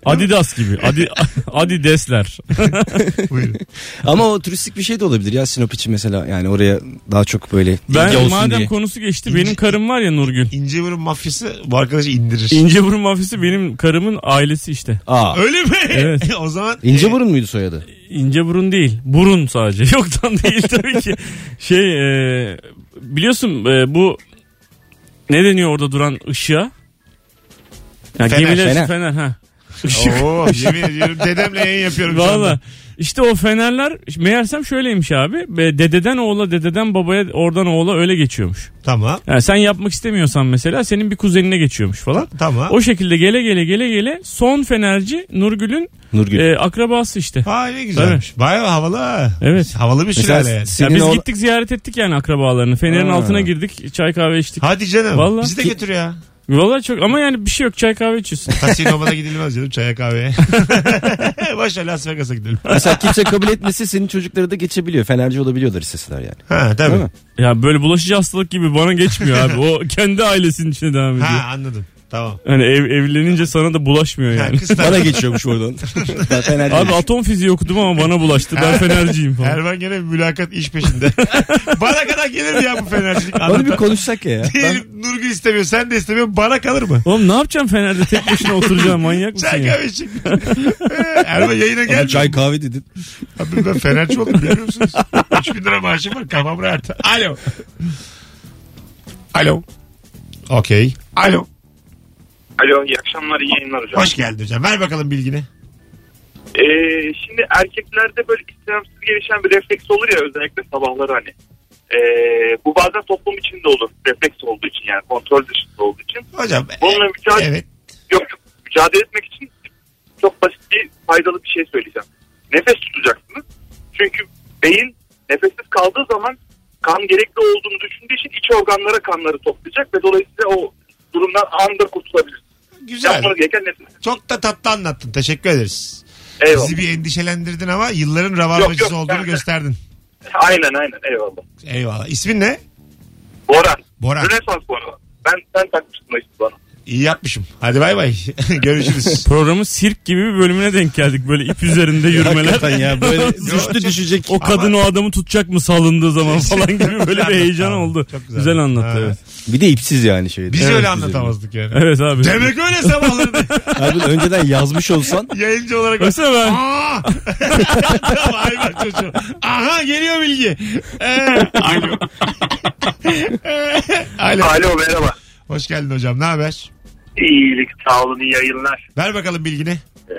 Speaker 3: Adidas gibi. Adi, Adidesler.
Speaker 2: Buyurun.
Speaker 4: Ama o turistik bir şey de olabilir ya Sinop için mesela. Yani oraya daha çok böyle ilgi
Speaker 3: Ben
Speaker 4: olsun
Speaker 3: madem
Speaker 4: diye.
Speaker 3: konusu geçti benim karım var ya Nurgül.
Speaker 2: İnceburun mafyası bu arkadaşı indirir.
Speaker 3: İnceburun mafyası benim karımın ailesi işte.
Speaker 4: Aa.
Speaker 2: Öyle mi?
Speaker 3: Evet.
Speaker 2: o zaman
Speaker 4: İnce burun muydu soyadı?
Speaker 3: İnceburun değil. Burun sadece. Yoktan değil tabii ki. Şey e, biliyorsun e, bu ne deniyor orada duran ışığa? Ya
Speaker 2: Fener,
Speaker 3: gemiler
Speaker 4: fener.
Speaker 3: fener. ha. Işık.
Speaker 2: Oo, yemin ediyorum dedemle yayın yapıyorum şu anda.
Speaker 3: Valla. İşte o fenerler meğersem şöyleymiş abi. E, Dededen oğula, dededen babaya, oradan oğula öyle geçiyormuş.
Speaker 2: Tamam.
Speaker 3: Yani sen yapmak istemiyorsan mesela senin bir kuzenine geçiyormuş falan.
Speaker 2: Tamam.
Speaker 3: O şekilde gele gele gele gele son fenerci Nurgül'ün
Speaker 4: Nurgül.
Speaker 3: e, akrabası işte.
Speaker 2: Ha ne güzelmiş. Bayağı havalı ha.
Speaker 3: Evet.
Speaker 2: Havalı bir
Speaker 4: Mesela
Speaker 2: sülale yani.
Speaker 3: Ya
Speaker 4: senin
Speaker 3: biz
Speaker 4: oğlan-
Speaker 3: gittik ziyaret ettik yani akrabalarını. Fener'in
Speaker 4: Ha.
Speaker 3: altına girdik. Çay kahve içtik.
Speaker 2: Hadi canım.
Speaker 3: Vallahi.
Speaker 2: Bizi de götür ya.
Speaker 3: Vallahi çok ama yani bir şey yok. Çay kahve içiyorsun.
Speaker 2: Kasinoma da gidilmez canım çaya kahveye. Başla Las Vegas'a gidelim.
Speaker 4: Mesela kimse kabul etmesi senin çocukları da geçebiliyor. Fenerci olabiliyorlar isteseler yani.
Speaker 2: Ha
Speaker 4: Değil
Speaker 2: tabii.
Speaker 4: mi?
Speaker 3: ya böyle bulaşıcı hastalık gibi bana geçmiyor abi. O kendi ailesinin içine devam ediyor.
Speaker 2: Ha anladım. Tamam.
Speaker 3: Hani ev, evlenince sana da bulaşmıyor
Speaker 2: Ha,
Speaker 3: yani.
Speaker 2: kız
Speaker 4: Bana
Speaker 2: tarafı-
Speaker 4: geçiyormuş oradan. Ben fenerci.
Speaker 3: Abi atom fiziği okudum ama bana bulaştı. Ben fenerciyim falan.
Speaker 2: Erman gene bir mülakat iş peşinde. Bana kadar gelir mi ya bu fenercilik?
Speaker 4: Onu bir konuşsak ya. Ben-
Speaker 2: Diyelim Nurgül istemiyor sen de istemiyorsun bana kalır mı?
Speaker 3: Oğlum ne yapacağım Fener'de tek başına oturacağım manyak mısın
Speaker 2: Çay
Speaker 3: ya?
Speaker 2: kahve için. Erman yayına
Speaker 4: Abi
Speaker 2: gelmiyor.
Speaker 4: çay kahve dedin.
Speaker 2: Abi ben fenerci oldum biliyor musunuz? 3 bin lira maaşım var kafam rahat. Alo. Alo. Okey. Alo.
Speaker 11: Alo iyi akşamlar iyi yayınlar hocam.
Speaker 2: Hoş geldin hocam. Ver bakalım bilgini.
Speaker 11: Ee, şimdi erkeklerde böyle istemsiz gelişen bir refleks olur ya özellikle sabahları hani. Ee, bu bazen toplum içinde olur. Refleks olduğu için yani kontrol dışında olduğu için.
Speaker 2: Hocam. e,
Speaker 11: Bununla mücadele,
Speaker 2: Evet.
Speaker 11: yok, yok, mücadele etmek için çok basit bir faydalı bir şey söyleyeceğim. Nefes tutacaksınız. Çünkü beyin nefessiz kaldığı zaman kan gerekli olduğunu düşündüğü için iç organlara kanları toplayacak ve dolayısıyla o durumdan anında kurtulabilirsiniz.
Speaker 2: Güzel.
Speaker 11: Yapmanız gereken nefes.
Speaker 2: Çok da tatlı anlattın. Teşekkür ederiz.
Speaker 11: Eyvallah.
Speaker 2: Bizi bir endişelendirdin ama yılların ravarbacısı
Speaker 11: Yok, yok.
Speaker 2: olduğunu gösterdin.
Speaker 11: Aynen aynen eyvallah.
Speaker 2: Eyvallah. İsmin ne?
Speaker 11: Boran.
Speaker 2: Boran.
Speaker 11: Rönesans Boran. Ben sen takmıştın işte bana.
Speaker 2: İyi yapmışım. Hadi bay bay. Görüşürüz.
Speaker 3: Programın sirk gibi bir bölümüne denk geldik. Böyle ip üzerinde yürümeler.
Speaker 4: Hakikaten ya böyle
Speaker 2: Yok,
Speaker 4: düştü düşecek.
Speaker 3: O kadın o adamı tutacak mı salındığı zaman falan gibi böyle bir heyecan
Speaker 2: Tamam.
Speaker 3: oldu.
Speaker 2: Çok güzel.
Speaker 3: güzel, anlattı
Speaker 2: Ha.
Speaker 3: evet.
Speaker 4: Bir de ipsiz yani şeydi.
Speaker 2: Biz
Speaker 3: Evet,
Speaker 2: öyle
Speaker 3: güzel.
Speaker 2: anlatamazdık yani.
Speaker 3: Evet abi.
Speaker 2: Demek öyle sabahları
Speaker 4: Abi önceden yazmış olsan
Speaker 2: yayıncı olarak.
Speaker 3: Baksana ben-
Speaker 2: Aa! Vay be çocuğum. Aha geliyor bilgi. Ee, alo. Ee, alo.
Speaker 11: Alo merhaba.
Speaker 2: Hoş geldin hocam. Ne haber?
Speaker 11: İyilik sağ olun iyi yayınlar.
Speaker 2: Ver bakalım bilgini.
Speaker 11: Ee,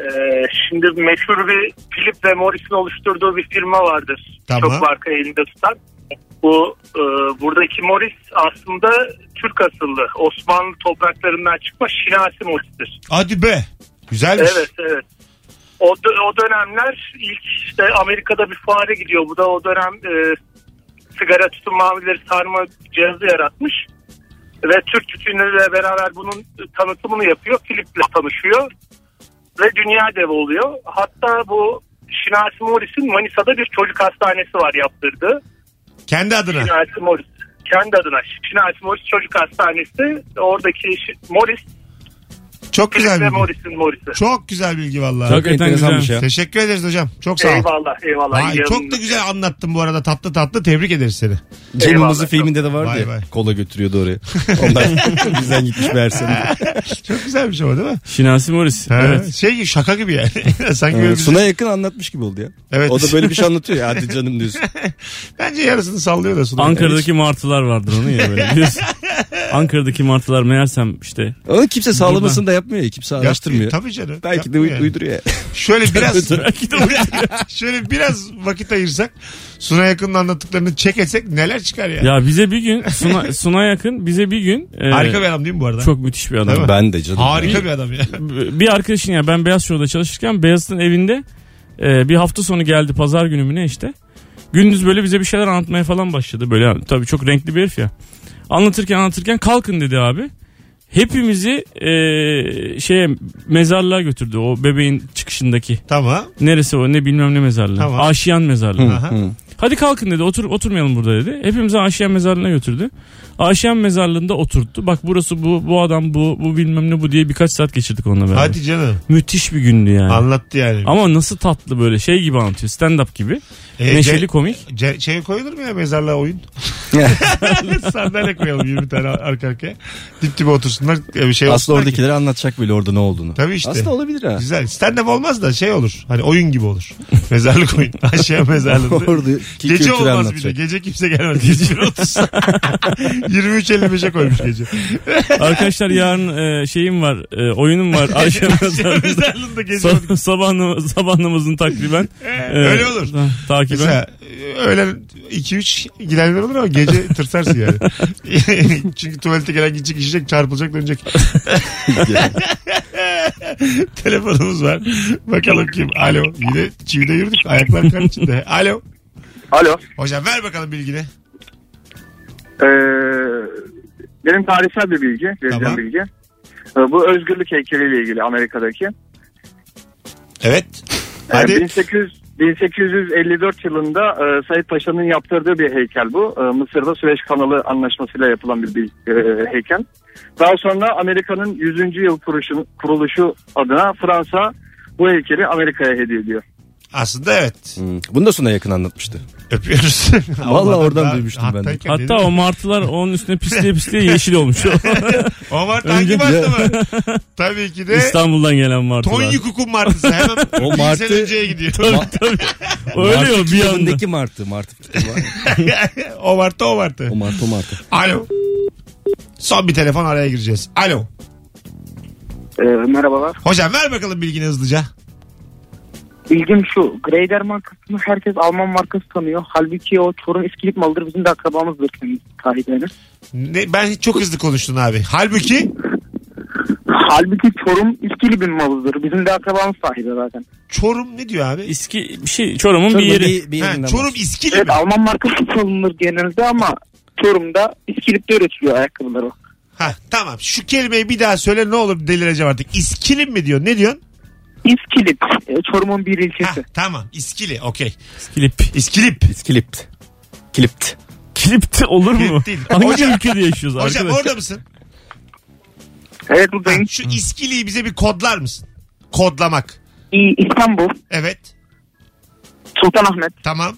Speaker 11: şimdi meşhur bir Philip ve Morris'in oluşturduğu bir firma vardır.
Speaker 2: Tamam.
Speaker 11: Çok marka elinde tutan. Bu e, buradaki Morris aslında Türk asıllı. Osmanlı topraklarından çıkma Şinasi Morris'tir.
Speaker 2: Hadi be. Güzelmiş.
Speaker 11: Evet evet. O, dö- o dönemler ilk işte Amerika'da bir fare gidiyor. Bu da o dönem e, sigara tütün mavileri sarma cihazı yaratmış. Ve Türk tütünleriyle beraber bunun tanıtımını yapıyor. Philip'le tanışıyor. Ve dünya devi oluyor. Hatta bu Şinasi Morris'in Manisa'da bir çocuk hastanesi var yaptırdığı.
Speaker 2: Kendi adına.
Speaker 11: Şinasi Morris. Kendi adına Şinasi Morris Çocuk Hastanesi. Oradaki Şi- Morris,
Speaker 2: Çok güzel
Speaker 11: Philip ve
Speaker 2: bilgi.
Speaker 11: Morris'in Morris'i.
Speaker 2: Çok güzel bilgi vallahi.
Speaker 3: Çok enteresanmış ya.
Speaker 2: Teşekkür ederiz hocam. Çok sağ ol.
Speaker 11: Eyvallah eyvallah.
Speaker 2: Vay, çok da güzel anlattın bu arada tatlı tatlı tebrik ederiz seni.
Speaker 4: Cem
Speaker 11: Eyvallah.
Speaker 4: Yılmaz'ın filminde de vardı
Speaker 2: Vay
Speaker 4: ya.
Speaker 2: vay.
Speaker 4: Kola götürüyordu oraya. Ondan bizden gitmiş meğerse.
Speaker 2: Çok güzelmiş ama değil mi?
Speaker 3: Şinasi Morris.
Speaker 2: Ha,
Speaker 3: Evet.
Speaker 2: Şey şaka gibi yani. Sanki böyle
Speaker 4: Evet,
Speaker 2: bizi-
Speaker 4: Suna yakın anlatmış gibi oldu ya.
Speaker 2: Evet.
Speaker 4: O da böyle bir şey anlatıyor ya hadi canım diyorsun.
Speaker 2: Bence yarısını sallıyor da Suna.
Speaker 3: Ankara'daki martılar vardır onu ya böyle biliyorsun. Ankara'daki martılar meğersem işte
Speaker 4: Onu kimse sağlamasını da yapmıyor ya kimse
Speaker 2: Yap-
Speaker 4: araştırmıyor.
Speaker 2: Tabii canım.
Speaker 4: Belki de
Speaker 2: Yapmıyor
Speaker 4: uy-
Speaker 2: yani.
Speaker 4: uyduruyor ya.
Speaker 2: Şöyle biraz
Speaker 3: Belki de uyduruyor.
Speaker 2: şöyle biraz vakit ayırsak Suna yakının anlattıklarını çek etsek neler çıkar ya.
Speaker 3: ya bize bir gün Suna, Suna yakın bize bir gün e,
Speaker 2: Harika bir adam değil mi bu arada?
Speaker 3: çok müthiş bir adam.
Speaker 2: Değil mi?
Speaker 4: Ben de canım.
Speaker 2: Harika bir adam ya.
Speaker 3: bir arkadaşın ya ben Beyaz Show'da çalışırken Beyaz'ın evinde e, bir hafta sonu geldi pazar günü mü ne işte. Gündüz böyle bize bir şeyler anlatmaya falan başladı. Böyle yani tabii çok renkli bir herif ya. Anlatırken anlatırken kalkın dedi abi. hepimizi e, şeye mezarlığa götürdü o bebeğin çıkışındaki.
Speaker 2: Tamam.
Speaker 3: Neresi o ne bilmem ne mezarlığı.
Speaker 2: Tamam.
Speaker 3: Aşiyan mezarlığı.
Speaker 2: Aha.
Speaker 3: Hadi kalkın dedi otur, oturmayalım burada dedi. Hepimizi Aşiyan mezarlığına götürdü. Aşiyan mezarlığında oturttu. Bak burası bu, bu adam bu, bu bilmem ne bu diye birkaç saat geçirdik onunla beraber.
Speaker 2: Hadi canım.
Speaker 3: Müthiş bir gündü yani.
Speaker 2: Anlattı yani.
Speaker 3: Ama nasıl tatlı böyle şey gibi anlatıyor. Stand up gibi.
Speaker 2: Ee,
Speaker 3: Neşeli
Speaker 2: ce-
Speaker 3: komik.
Speaker 2: ce- şey koyulur mu ya mezarlığa oyun? Sandalye koyalım 20 tane arka arkaya. Dip dibe otursunlar. e, Bir şey
Speaker 4: Aslında
Speaker 2: olsunlar ki.
Speaker 4: oradakileri anlatacak böyle orada ne olduğunu.
Speaker 2: Tabii işte.
Speaker 4: Aslında olabilir ha.
Speaker 2: Güzel. Stand up olmaz da şey olur. Hani oyun gibi olur. Mezarlık oyun. Aşağı mezarlığında.
Speaker 4: Oradaki
Speaker 2: Gece
Speaker 4: kültürü
Speaker 2: olmaz bir de.
Speaker 4: anlatacak.
Speaker 2: Gece kimse gelmez. Gece 23.55'e koymuş gece.
Speaker 3: Arkadaşlar yarın e, şeyim var. e, oyunum var. Aşiyan
Speaker 2: Aşağı
Speaker 3: mezarlığında.
Speaker 2: mezarlığında gece.
Speaker 3: Sa- sabah, namaz- sabah namazını takriben. e,
Speaker 2: Öyle olur.
Speaker 3: ha, Takiben.
Speaker 2: Mesela e, öğlen 2-3 gidenler olur ama gece tırsarsın yani. Çünkü tuvalete gelen gidecek, içecek, çarpılacak, dönecek. Telefonumuz var. Bakalım kim? Alo. Yine çivide yürüdük. Ayaklar kan içinde. Alo.
Speaker 5: Alo.
Speaker 2: Hocam ver bakalım bilgini.
Speaker 5: Ee, benim tarihsel bir bilgi, vereceğim
Speaker 2: Tamam.
Speaker 5: bilgi. Ee, bu özgürlük heykeliyle ilgili Amerika'daki.
Speaker 2: Evet.
Speaker 5: Ee,
Speaker 2: Hadi.
Speaker 5: 1800 1854 yılında e, Said Paşa'nın yaptırdığı bir heykel bu. E, Mısır'da Süveyş Kanalı anlaşmasıyla yapılan bir, bir, e, heykel. Daha sonra Amerika'nın 100. yıl kuruluşu, kuruluşu adına Fransa bu heykeli Amerika'ya hediye ediyor.
Speaker 2: Aslında evet.
Speaker 4: Hmm. Bunu da Suna yakın anlatmıştı.
Speaker 2: Öpüyoruz.
Speaker 4: Vallahi oradan
Speaker 2: Daha-
Speaker 4: duymuştum ben de.
Speaker 2: hattayken
Speaker 3: Hatta
Speaker 2: dedim.
Speaker 3: o martılar onun üstüne pisliğe pisliğe yeşil olmuş.
Speaker 2: o Mart hangi
Speaker 3: Önce-
Speaker 2: Mart'ta mı? Tabii ki de
Speaker 3: İstanbul'dan gelen martılar.
Speaker 2: Tonyuk Kukun Martı'sı. Hemen
Speaker 4: O
Speaker 2: o Martı...
Speaker 4: Martı-
Speaker 2: önceye gidiyor.
Speaker 3: Ölüyor
Speaker 4: Martı
Speaker 3: bir anda.
Speaker 4: kitabındaki Martı. Martı kitabı var.
Speaker 2: o Martı o Martı.
Speaker 4: o Martı o Martı.
Speaker 2: Alo. Son bir telefon araya gireceğiz. Alo.
Speaker 10: Ee, merhabalar.
Speaker 2: Hocam ver bakalım bilgini hızlıca.
Speaker 10: Bilgim şu. Greyder markasını herkes Alman markası tanıyor. Halbuki o Çorum İskilip malıdır. Bizim de akrabamızdır kendisi sahipleri.
Speaker 2: Ne, ben çok hızlı konuştun abi. Halbuki
Speaker 10: Halbuki Çorum İskilip'in malıdır. Bizim de akrabamız sahibi zaten.
Speaker 2: Çorum ne diyor abi?
Speaker 3: İski bir şey Çorum'un bir
Speaker 4: Şurada
Speaker 3: yeri.
Speaker 4: bir
Speaker 2: Ha,
Speaker 4: yerinden
Speaker 2: Çorum
Speaker 4: var.
Speaker 2: İskili
Speaker 10: Evet
Speaker 2: mi?
Speaker 10: Alman markası çalınır genelde ama Çorum'da İskilip'te üretiliyor ayakkabıları.
Speaker 2: Ha, tamam şu kelimeyi bir daha söyle ne olur delireceğim artık. İskili mi diyor? Ne diyorsun?
Speaker 10: İskilip e, Çorum'un bir
Speaker 2: Ha,
Speaker 10: ilçesi.
Speaker 2: tamam İskili okey.
Speaker 3: Kilip.
Speaker 2: İskilip.
Speaker 4: İskilipt. Kilipt.
Speaker 3: Kilipti olur mu?
Speaker 2: Kilip değil.
Speaker 3: Hangi
Speaker 2: Hocam-
Speaker 3: ülkede yaşıyoruz
Speaker 2: Hocam
Speaker 3: arkadaş?
Speaker 2: orada mısın?
Speaker 10: Evet
Speaker 2: Ha,
Speaker 10: buradayım.
Speaker 2: şu İskili'yi bize bir kodlar mısın? Kodlamak.
Speaker 10: İ- İstanbul,
Speaker 2: Evet.
Speaker 10: Sultanahmet,
Speaker 2: Tamam.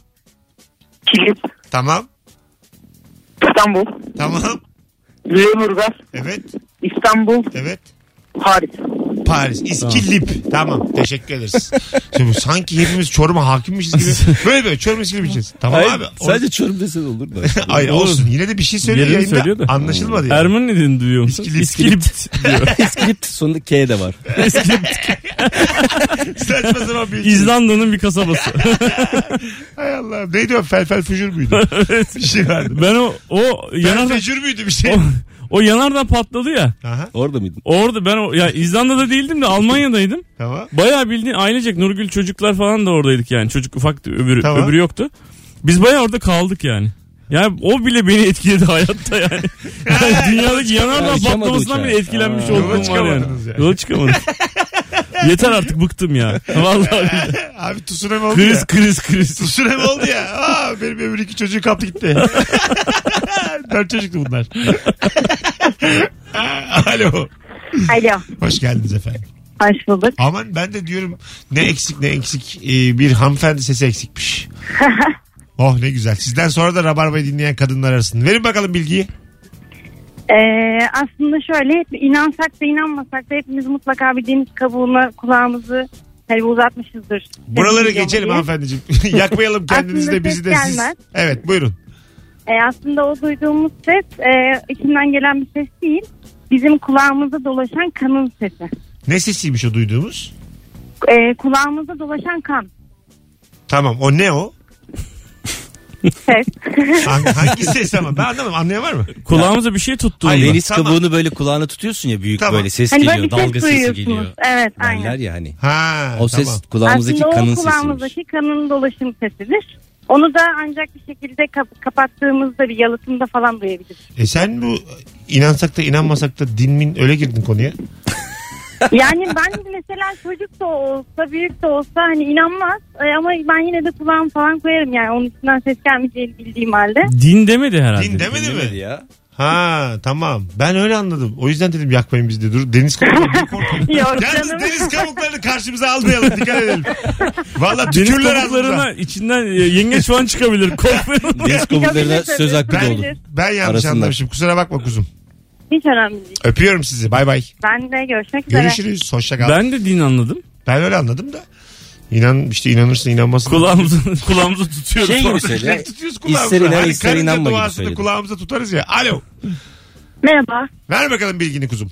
Speaker 10: Kilis,
Speaker 2: Tamam.
Speaker 10: İstanbul,
Speaker 2: Tamam.
Speaker 10: Lüleburgaz,
Speaker 2: Evet.
Speaker 10: İstanbul,
Speaker 2: Evet.
Speaker 10: Paris.
Speaker 2: Paris. İskilip. Tamam. Teşekkür ederiz. Şimdi sanki hepimiz Çorum'a hakimmişiz gibi. Böyle böyle Çorum İskilip'ciyiz. Tamam
Speaker 4: Hayır,
Speaker 2: abi. Or-
Speaker 4: sadece Çorum desen olur mu?
Speaker 2: Hayır olsun. Yine de bir şey söylüyor
Speaker 3: Yerini
Speaker 2: yayında.
Speaker 3: söylüyor da.
Speaker 2: Anlaşılmadı yani.
Speaker 3: Ermeni ne dediğini duyuyor musun?
Speaker 2: İskilip.
Speaker 3: İskilipt diyor.
Speaker 4: İskilipt sonunda K de var.
Speaker 3: İskilipt.
Speaker 2: Saçma sapan bir
Speaker 3: İzlanda'nın bir kasabası.
Speaker 2: Hay Allah. Neydi o? Felfel fücür müydü? bir şey vardı.
Speaker 3: Ben o o
Speaker 2: Fel
Speaker 3: yanardan
Speaker 2: fücür müydü bir şey?
Speaker 3: o, o yanardan patladı ya.
Speaker 2: Aha,
Speaker 4: Orada mıydın?
Speaker 3: Orada ben o ya İzlanda'da değildim de Almanya'daydım.
Speaker 2: tamam.
Speaker 3: Bayağı bildiğin ailecek Nurgül çocuklar falan da oradaydık yani. Çocuk ufaktı öbürü,
Speaker 2: Tamam.
Speaker 3: öbürü yoktu. Biz bayağı orada kaldık yani. Yani o bile beni etkiledi hayatta yani. Yani dünyadaki yanardağ
Speaker 4: Uçamadı
Speaker 3: patlamasından
Speaker 4: uçağa.
Speaker 3: bile etkilenmiş
Speaker 4: Aa.
Speaker 3: olduğum
Speaker 2: Yola
Speaker 3: var yani.
Speaker 2: çıkamadınız yani.
Speaker 3: Yola çıkamadım. Yeter artık bıktım ya. Vallahi billahi.
Speaker 2: Abi tsunami oldu
Speaker 3: kriz
Speaker 2: ya.
Speaker 3: kriz kriz.
Speaker 2: Tsunami oldu ya. Aa, benim öbür iki çocuğu kaptı gitti. Dört çocuktu bunlar. Alo.
Speaker 12: Alo.
Speaker 2: Hoş geldiniz efendim.
Speaker 12: Hoş bulduk.
Speaker 2: Aman ben de diyorum ne eksik ne eksik Ee, bir hanımefendi sesi eksikmiş. oh ne güzel. Sizden sonra da Rabarba'yı dinleyen kadınlar arasın. Verin bakalım bilgiyi.
Speaker 12: Ee, aslında şöyle hep inansak da inanmasak da hepimiz mutlaka bir deniz kabuğuna kulağımızı hani uzatmışızdır.
Speaker 2: Buraları
Speaker 12: Sevgili
Speaker 2: geçelim
Speaker 12: Yavuz'u.
Speaker 2: hanımefendiciğim. Yakmayalım kendinizi de
Speaker 12: Aslında
Speaker 2: bizi
Speaker 12: ses
Speaker 2: de siz.
Speaker 12: gelmez.
Speaker 2: Evet buyurun.
Speaker 12: Ee, aslında o duyduğumuz ses e, içinden gelen bir ses değil. Bizim kulağımızda dolaşan kanın sesi.
Speaker 2: Ne sesiymiş o duyduğumuz?
Speaker 12: Ee, kulağımızda dolaşan kan
Speaker 2: Tamam o ne o?
Speaker 12: ses.
Speaker 2: Hangi, hangi ses ama ben anlamadım. Anlayan var mı?
Speaker 3: Kulağımıza bir şey tuttu.
Speaker 2: Ay,
Speaker 4: Deniz
Speaker 2: tamam.
Speaker 4: kabuğunu böyle kulağına tutuyorsun ya büyük
Speaker 2: Tamam.
Speaker 4: böyle ses
Speaker 12: hani böyle
Speaker 4: geliyor.
Speaker 12: bir
Speaker 4: Dalga
Speaker 12: ses
Speaker 4: sesi
Speaker 12: duyuyorsunuz.
Speaker 4: geliyor.
Speaker 12: Evet
Speaker 4: Derler
Speaker 12: aynen.
Speaker 4: ya hani.
Speaker 2: Ha, tamam.
Speaker 4: O ses kulağımızdaki
Speaker 12: aslında
Speaker 4: kanın
Speaker 12: o
Speaker 4: sesiymiş.
Speaker 12: kulağımızdaki kanın dolaşım sesidir. Onu da ancak bir şekilde kap- kapattığımızda bir yalıtımda falan duyabiliriz.
Speaker 2: E sen bu inansak da inanmasak da dinmin öyle girdin konuya.
Speaker 12: Yani ben mesela çocuk da olsa büyük de olsa hani inanmaz E, ama ben yine de kulağım falan koyarım yani onun içinden ses gelmeyeceğini bildiğim halde.
Speaker 3: Din demedi herhalde.
Speaker 2: Din demedi mi?
Speaker 4: ya.
Speaker 2: Ha tamam. Ben öyle anladım. O yüzden dedim yakmayın bizi de. Dur deniz kabukları.
Speaker 12: Yok
Speaker 2: Yalnız
Speaker 12: canım.
Speaker 2: deniz kabuklarını karşımıza almayalım. Dikkat edelim. Valla
Speaker 3: Deniz
Speaker 2: tükürler ağzımıza.
Speaker 3: kabuklarına içinden e, yengeç falan çıkabilir. Korkmayın.
Speaker 4: Deniz kabuklarına söz hakkı da
Speaker 12: Ben-
Speaker 4: olur.
Speaker 2: Ben yanlış
Speaker 4: Arasında.
Speaker 2: anlamışım. Kusura bakma kuzum.
Speaker 12: Hiç önemli değil.
Speaker 2: Öpüyorum sizi. Bay bay.
Speaker 12: Ben de görüşmek üzere.
Speaker 2: Görüşürüz. Hoşça kal. Ben...
Speaker 3: ben de din anladım.
Speaker 2: öyle anladım da. İnan işte inanırsın inanmasın.
Speaker 3: Kulağımızı, kulağımızı tutuyoruz.
Speaker 4: Şey gibi
Speaker 2: Ne
Speaker 4: söyle.
Speaker 2: tutuyoruz kulağımıza? Hani
Speaker 4: İster inan, ister
Speaker 2: karınca
Speaker 4: inanma gibi
Speaker 2: duasını
Speaker 4: söyledim.
Speaker 2: kulağımıza tutarız ya. Alo.
Speaker 13: Merhaba.
Speaker 2: Ver bakalım bilgini kuzum.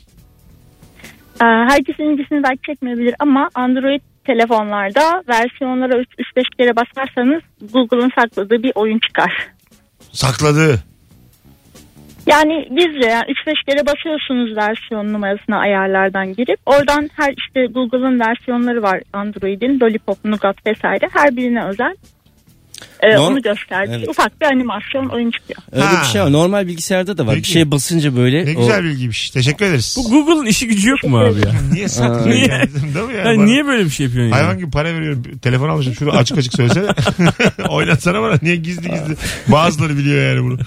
Speaker 13: Ee, Herkesin ilgisini belki çekmeyebilir ama Android telefonlarda versiyonlara 3-5 kere basarsanız Google'ın sakladığı bir oyun çıkar.
Speaker 2: Sakladı.
Speaker 13: Yani bizce yani 3-5 kere basıyorsunuz versiyon numarasına ayarlardan girip oradan her işte Google'ın versiyonları var Android'in Lollipop, Nougat vesaire her birine özel. Ee,
Speaker 4: Norm-
Speaker 13: onu gösterdi.
Speaker 4: Evet.
Speaker 13: Ufak bir animasyon oyun çıkıyor.
Speaker 4: Öyle
Speaker 2: Ha.
Speaker 4: bir şey var. Normal bilgisayarda da var.
Speaker 2: Peki.
Speaker 4: Bir şey basınca böyle.
Speaker 2: Ne
Speaker 4: o-
Speaker 2: güzel bilgiymiş. Teşekkür ederiz.
Speaker 3: Bu Google'ın işi gücü yok mu abi ya?
Speaker 2: Niye saklıyor?
Speaker 3: Niye?
Speaker 2: yani? Değil mi yani?
Speaker 3: Yani
Speaker 2: Bana-
Speaker 3: niye böyle bir şey yapıyorsun ya?
Speaker 2: Hayvan gibi para veriyorum. Telefon almışım. Şunu açık açık söylesene. Oynatsana bana. Niye gizli gizli? Bazıları biliyor yani bunu.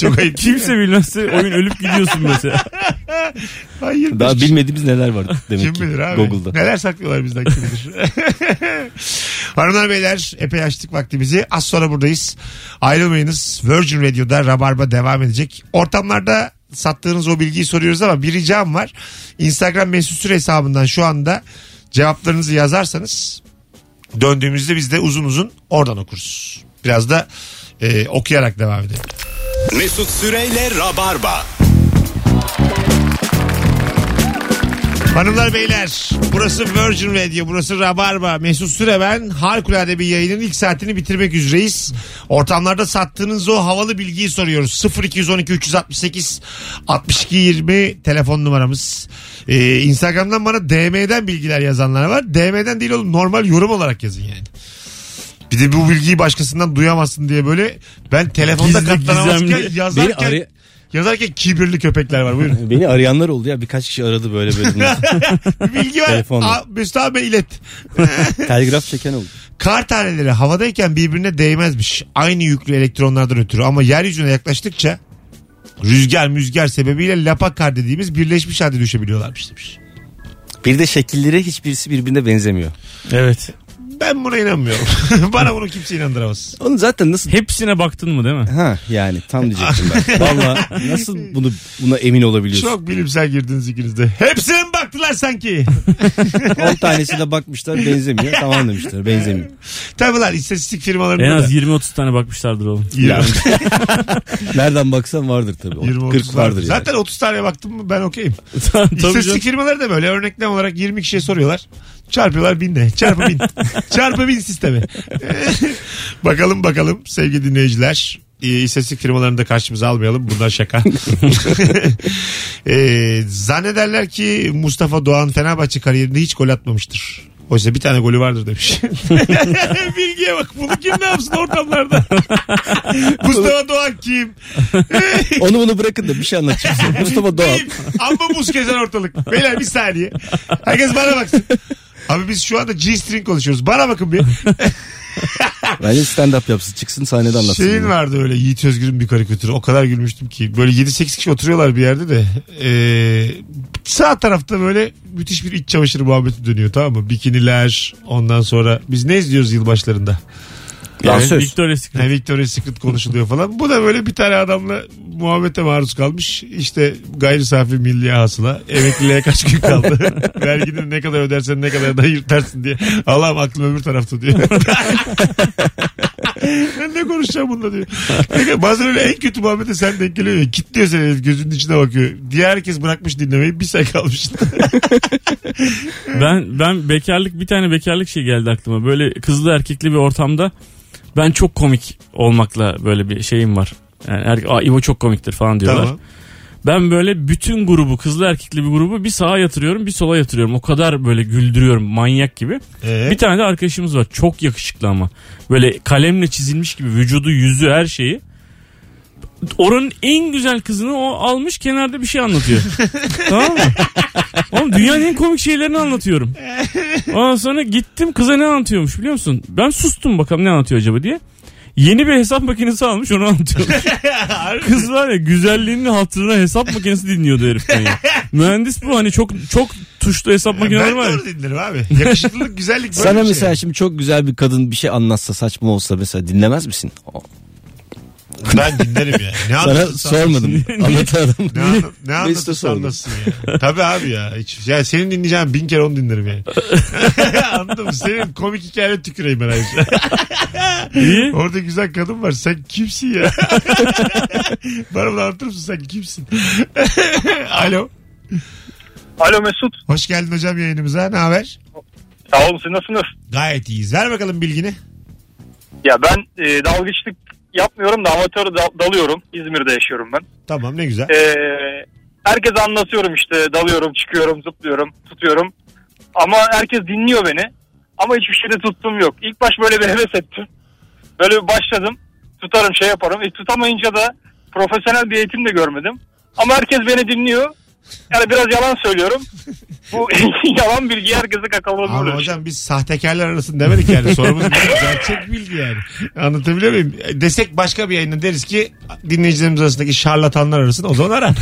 Speaker 2: Çok ayıp.
Speaker 3: Kimse bilmezse oyun ölüp gidiyorsun mesela.
Speaker 2: Hayır.
Speaker 4: Daha bilmediğimiz neler var demek
Speaker 2: Kim
Speaker 4: ki.
Speaker 2: bilir abi?
Speaker 4: Google'da.
Speaker 2: Neler saklıyorlar bizden kim bilir. Hanımlar beyler epey açtık vaktimizi. Az sonra buradayız. Ayrılmayınız. Virgin Radio'da Rabarba devam edecek. Ortamlarda sattığınız o bilgiyi soruyoruz ama bir ricam var. Instagram mesut süre hesabından şu anda cevaplarınızı yazarsanız döndüğümüzde biz de uzun uzun oradan okuruz. Biraz da e, okuyarak devam edelim.
Speaker 1: Mesut Süreyle Rabarba.
Speaker 2: Hanımlar beyler burası Virgin Radio burası Rabarba Mesut Süre ben harikulade bir yayının ilk saatini bitirmek üzereyiz. Ortamlarda sattığınız o havalı bilgiyi soruyoruz 0212 368 62 20 telefon numaramız. Ee, Instagram'dan bana DM'den bilgiler yazanlar var DM'den değil oğlum normal yorum olarak yazın yani. Bir de bu bilgiyi başkasından duyamazsın diye böyle ben telefonda
Speaker 3: Gizli,
Speaker 2: katlanamazken
Speaker 3: gizemli.
Speaker 4: Beni,
Speaker 2: yazarken,
Speaker 4: araya-
Speaker 2: yazarken kibirli köpekler var buyurun.
Speaker 4: beni arayanlar oldu ya. Birkaç kişi aradı böyle böyle.
Speaker 2: Bilgi ver.
Speaker 4: Telefonla.
Speaker 2: Aa, Mesut abi ilet.
Speaker 4: Telgraf çeken oldu.
Speaker 2: Kar taneleri havadayken birbirine değmezmiş. Aynı yüklü elektronlardan ötürü ama yeryüzüne yaklaştıkça rüzgar müzgar sebebiyle lapa kar dediğimiz birleşmiş halde düşebiliyorlarmış demiş.
Speaker 4: Bir de şekilleri hiçbirisi birbirine benzemiyor.
Speaker 3: Evet.
Speaker 2: Ben buna inanmıyorum. Bana bunu kimse inandıramaz.
Speaker 4: Onu zaten nasıl
Speaker 3: Hepsine baktın mı değil mi?
Speaker 4: Ha yani tam diyecektim ben. Valla nasıl bunu buna emin olabiliyorsun?
Speaker 2: Çok bilimsel girdiniz ikiniz de. Hepsine mi baktılar sanki?
Speaker 4: 10 tanesine bakmışlar benzemiyor. Tamam demişler benzemiyor.
Speaker 2: Tabii lan istatistik firmalarında
Speaker 3: En az
Speaker 2: da.
Speaker 3: 20-30 tane bakmışlardır oğlum.
Speaker 2: Ya,
Speaker 4: Nereden baksan vardır tabii. O
Speaker 2: 20,
Speaker 4: 40 vardır yani.
Speaker 2: Zaten 30 tane baktım mı ben okeyim.
Speaker 3: Tamam, Tabii canım.
Speaker 2: İstatistik firmaları da böyle örneklem olarak 20 kişiye soruyorlar. Çarpıyorlar binle. Çarpı bin. Çarpı bin sistemi. bakalım bakalım sevgili dinleyiciler. Ee, İstatistik firmalarını da karşımıza almayalım. Bunlar şaka. Ee, zannederler ki Mustafa Doğan Fenerbahçe kariyerinde hiç gol atmamıştır. Oysa bir tane golü vardır demiş. Bilgiye bak bunu kim ne yapsın ortamlarda. Mustafa Doğan kim?
Speaker 4: Onu bunu bırakın da bir şey anlatacağım. size. Mustafa Doğan.
Speaker 2: Benim amma buz gezen ortalık. Beyler bir saniye. Herkes bana baksın. Abi biz şu anda G-string konuşuyoruz. Bana bakın bir.
Speaker 4: Bence stand up yapsın. Çıksın sahnede anlatsın.
Speaker 2: Şeyin
Speaker 4: bunu.
Speaker 2: vardı öyle Yiğit Özgür'ün bir karikatürü. O kadar gülmüştüm ki. Böyle 7-8 kişi oturuyorlar bir yerde de. Ee, sağ tarafta böyle müthiş bir iç çamaşırı muhabbeti dönüyor tamam mı? Bikiniler ondan sonra. Biz ne izliyoruz yılbaşlarında?
Speaker 4: Dansöz.
Speaker 3: Victoria's Secret.
Speaker 2: Yani Hani Victoria's Secret konuşuluyor falan. Bu da böyle bir tane adamla muhabbete maruz kalmış. İşte gayri safi milli hasıla. Emekliliğe kaç gün kaldı? Vergini ne kadar ödersen ne kadar da yırtarsın diye. Allah'ım aklım öbür tarafta diyor. ben ne konuşacağım bununla diyor. Çünkü Bazen öyle en kötü muhabbete sen denk geliyor ya. Kitliyor seni herif, gözünün içine bakıyor. Diğer herkes bırakmış dinlemeyi bir sen kalmışsın.
Speaker 3: Ben ben bekarlık bir tane bekarlık şey geldi aklıma. Böyle kızlı erkekli bir ortamda ben çok komik olmakla böyle bir şeyim var. Yani er, Aa, İvo çok komiktir falan diyorlar.
Speaker 2: tamam.
Speaker 3: Ben böyle bütün grubu kızlı erkekli bir grubu bir sağa yatırıyorum bir sola yatırıyorum. O kadar böyle güldürüyorum manyak gibi.
Speaker 2: Ee,
Speaker 3: Bir tane de arkadaşımız var çok yakışıklı ama. Böyle kalemle çizilmiş gibi vücudu yüzü her şeyi. Oranın en güzel kızını o almış kenarda bir şey anlatıyor. tamam mı? Oğlum dünyanın en komik şeylerini anlatıyorum. Ondan sonra gittim kıza ne anlatıyormuş biliyor musun? Ben sustum bakalım ne anlatıyor acaba diye. Yeni bir hesap makinesi almış onu anlatıyormuş. Kız var ya güzelliğinin hatırına hesap makinesi dinliyordu heriften ya. Mühendis bu hani çok çok tuşlu hesap makineleri
Speaker 2: ben
Speaker 3: var ya.
Speaker 2: doğru dinlerim abi. Yakışıklılık, güzellik böyle
Speaker 4: Sana
Speaker 2: bir şey.
Speaker 4: mesela şimdi çok güzel bir kadın bir şey anlatsa saçma olsa mesela dinlemez misin? O-
Speaker 2: Ben dinlerim ya. Ne
Speaker 4: Sana
Speaker 2: anlatırsın
Speaker 4: sormadım. Anlatamadım.
Speaker 2: şey. Ne, anla, ne
Speaker 4: Mesut'a
Speaker 2: anlatırsa
Speaker 4: sordum.
Speaker 2: anlatsın ya. Tabii abi ya. Hiç, ya senin dinleyeceğin bin kere onu dinlerim yani. Anladın mı? Senin komik hikayene tüküreyim ben ayrıca.
Speaker 3: İyi.
Speaker 2: Orada güzel kadın var. Sen kimsin ya? Bana bunu anlatır mısın? Sen kimsin? Alo.
Speaker 11: Alo Mesut.
Speaker 2: Hoş geldin hocam yayınımıza. Ne haber?
Speaker 11: Sağ olun siz nasılsınız?
Speaker 2: Gayet iyiyiz. Ver bakalım bilgini.
Speaker 11: Ya ben e, dalgıçlık yapmıyorum da amatör da- dalıyorum. İzmir'de yaşıyorum ben.
Speaker 2: Tamam ne güzel.
Speaker 11: E, herkese anlatıyorum işte dalıyorum, çıkıyorum, zıplıyorum, tutuyorum. Ama herkes dinliyor beni. Ama hiçbir şeyde tuttum yok. İlk baş böyle bir heves ettim. Böyle bir başladım. Tutarım şey yaparım. E, tutamayınca da profesyonel bir eğitim de görmedim. Ama herkes beni dinliyor. Yani biraz yalan söylüyorum. Bu yalan bilgi herkese kakaladığını
Speaker 2: Ama hocam biz sahtekarlar arasında demedik yani. Sorumuz bu. gerçek bilgi yani. Anlatabiliyor muyum? E, Desek başka bir yayında deriz ki dinleyicilerimiz arasındaki şarlatanlar arasında o zaman ara.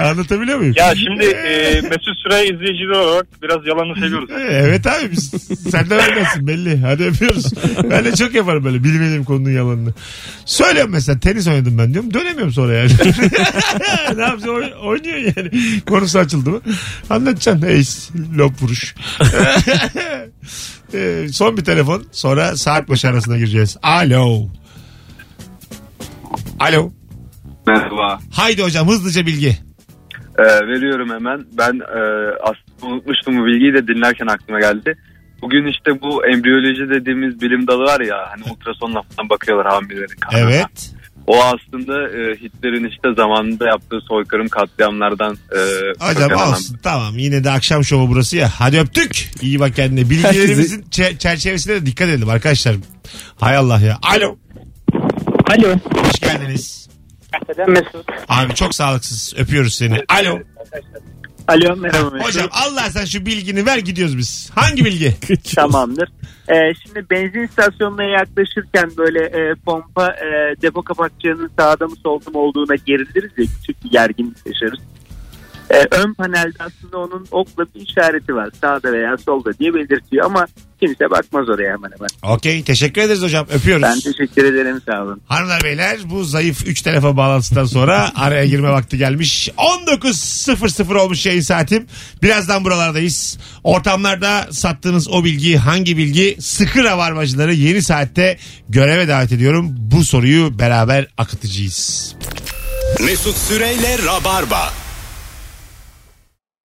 Speaker 2: Anlatabiliyor muyum?
Speaker 11: Ya şimdi e, Mesut Süre izleyicileri olarak biraz yalanı seviyoruz.
Speaker 2: Evet abi biz, sen de vermezsin belli. Hadi öpüyoruz. Ben de çok yaparım böyle bilmediğim konunun yalanını. Söylüyorum mesela tenis oynadım ben diyorum. Dönemiyorum sonra yani. ne yapacağım oy- oynuyor yani. Konusu açıldı mı? Anlatacaksın. Ace, lop vuruş. Ee, son bir telefon. Sonra saat başı arasına gireceğiz. Alo. Alo.
Speaker 14: Merhaba.
Speaker 2: Haydi hocam hızlıca bilgi.
Speaker 14: Ee, veriyorum hemen. Ben e, aslında unutmuştum bu bilgiyi de dinlerken aklıma geldi. Bugün işte bu embriyoloji dediğimiz bilim dalı var ya hani ultrasonla falan bakıyorlar hamilelerin kanına.
Speaker 2: Evet.
Speaker 14: O aslında e, Hitler'in işte zamanında yaptığı soykırım katliamlardan e,
Speaker 2: Hocam
Speaker 14: kökenen-
Speaker 2: olsun tamam yine de akşam şovu burası ya. Hadi öptük. İyi bak kendine. Bilgilerimizin çe- çerçevesine de dikkat edelim arkadaşlar. Hay Allah ya. Alo.
Speaker 11: Alo.
Speaker 2: Hoş geldiniz.
Speaker 11: Mesut.
Speaker 2: Abi çok sağlıksız. Öpüyoruz seni. Alo.
Speaker 11: Alo merhaba Mesut.
Speaker 2: Hocam Allah sen şu bilgini ver gidiyoruz biz. Hangi bilgi?
Speaker 11: Tamamdır. Ee, şimdi benzin istasyonuna yaklaşırken böyle e, pompa e, depo kapakçığının sağda mı solda mı olduğuna geriliriz ya küçük bir gerginlik yaşarız. Ee, ön panelde aslında onun okla bir işareti var sağda veya solda diye belirtiyor ama kimse bakmaz oraya hemen hemen.
Speaker 2: Okey teşekkür ederiz hocam. Öpüyoruz.
Speaker 11: Ben teşekkür ederim sağ olun.
Speaker 2: Hanımlar beyler bu zayıf 3 telefon bağlantısından sonra araya girme vakti gelmiş. 19.00 olmuş yayın saatim. Birazdan buralardayız. Ortamlarda sattığınız o bilgi hangi bilgi? Sıkı ravarmacıları yeni saatte göreve davet ediyorum. Bu soruyu beraber akıtacağız.
Speaker 1: Mesut Süreyle Rabarba.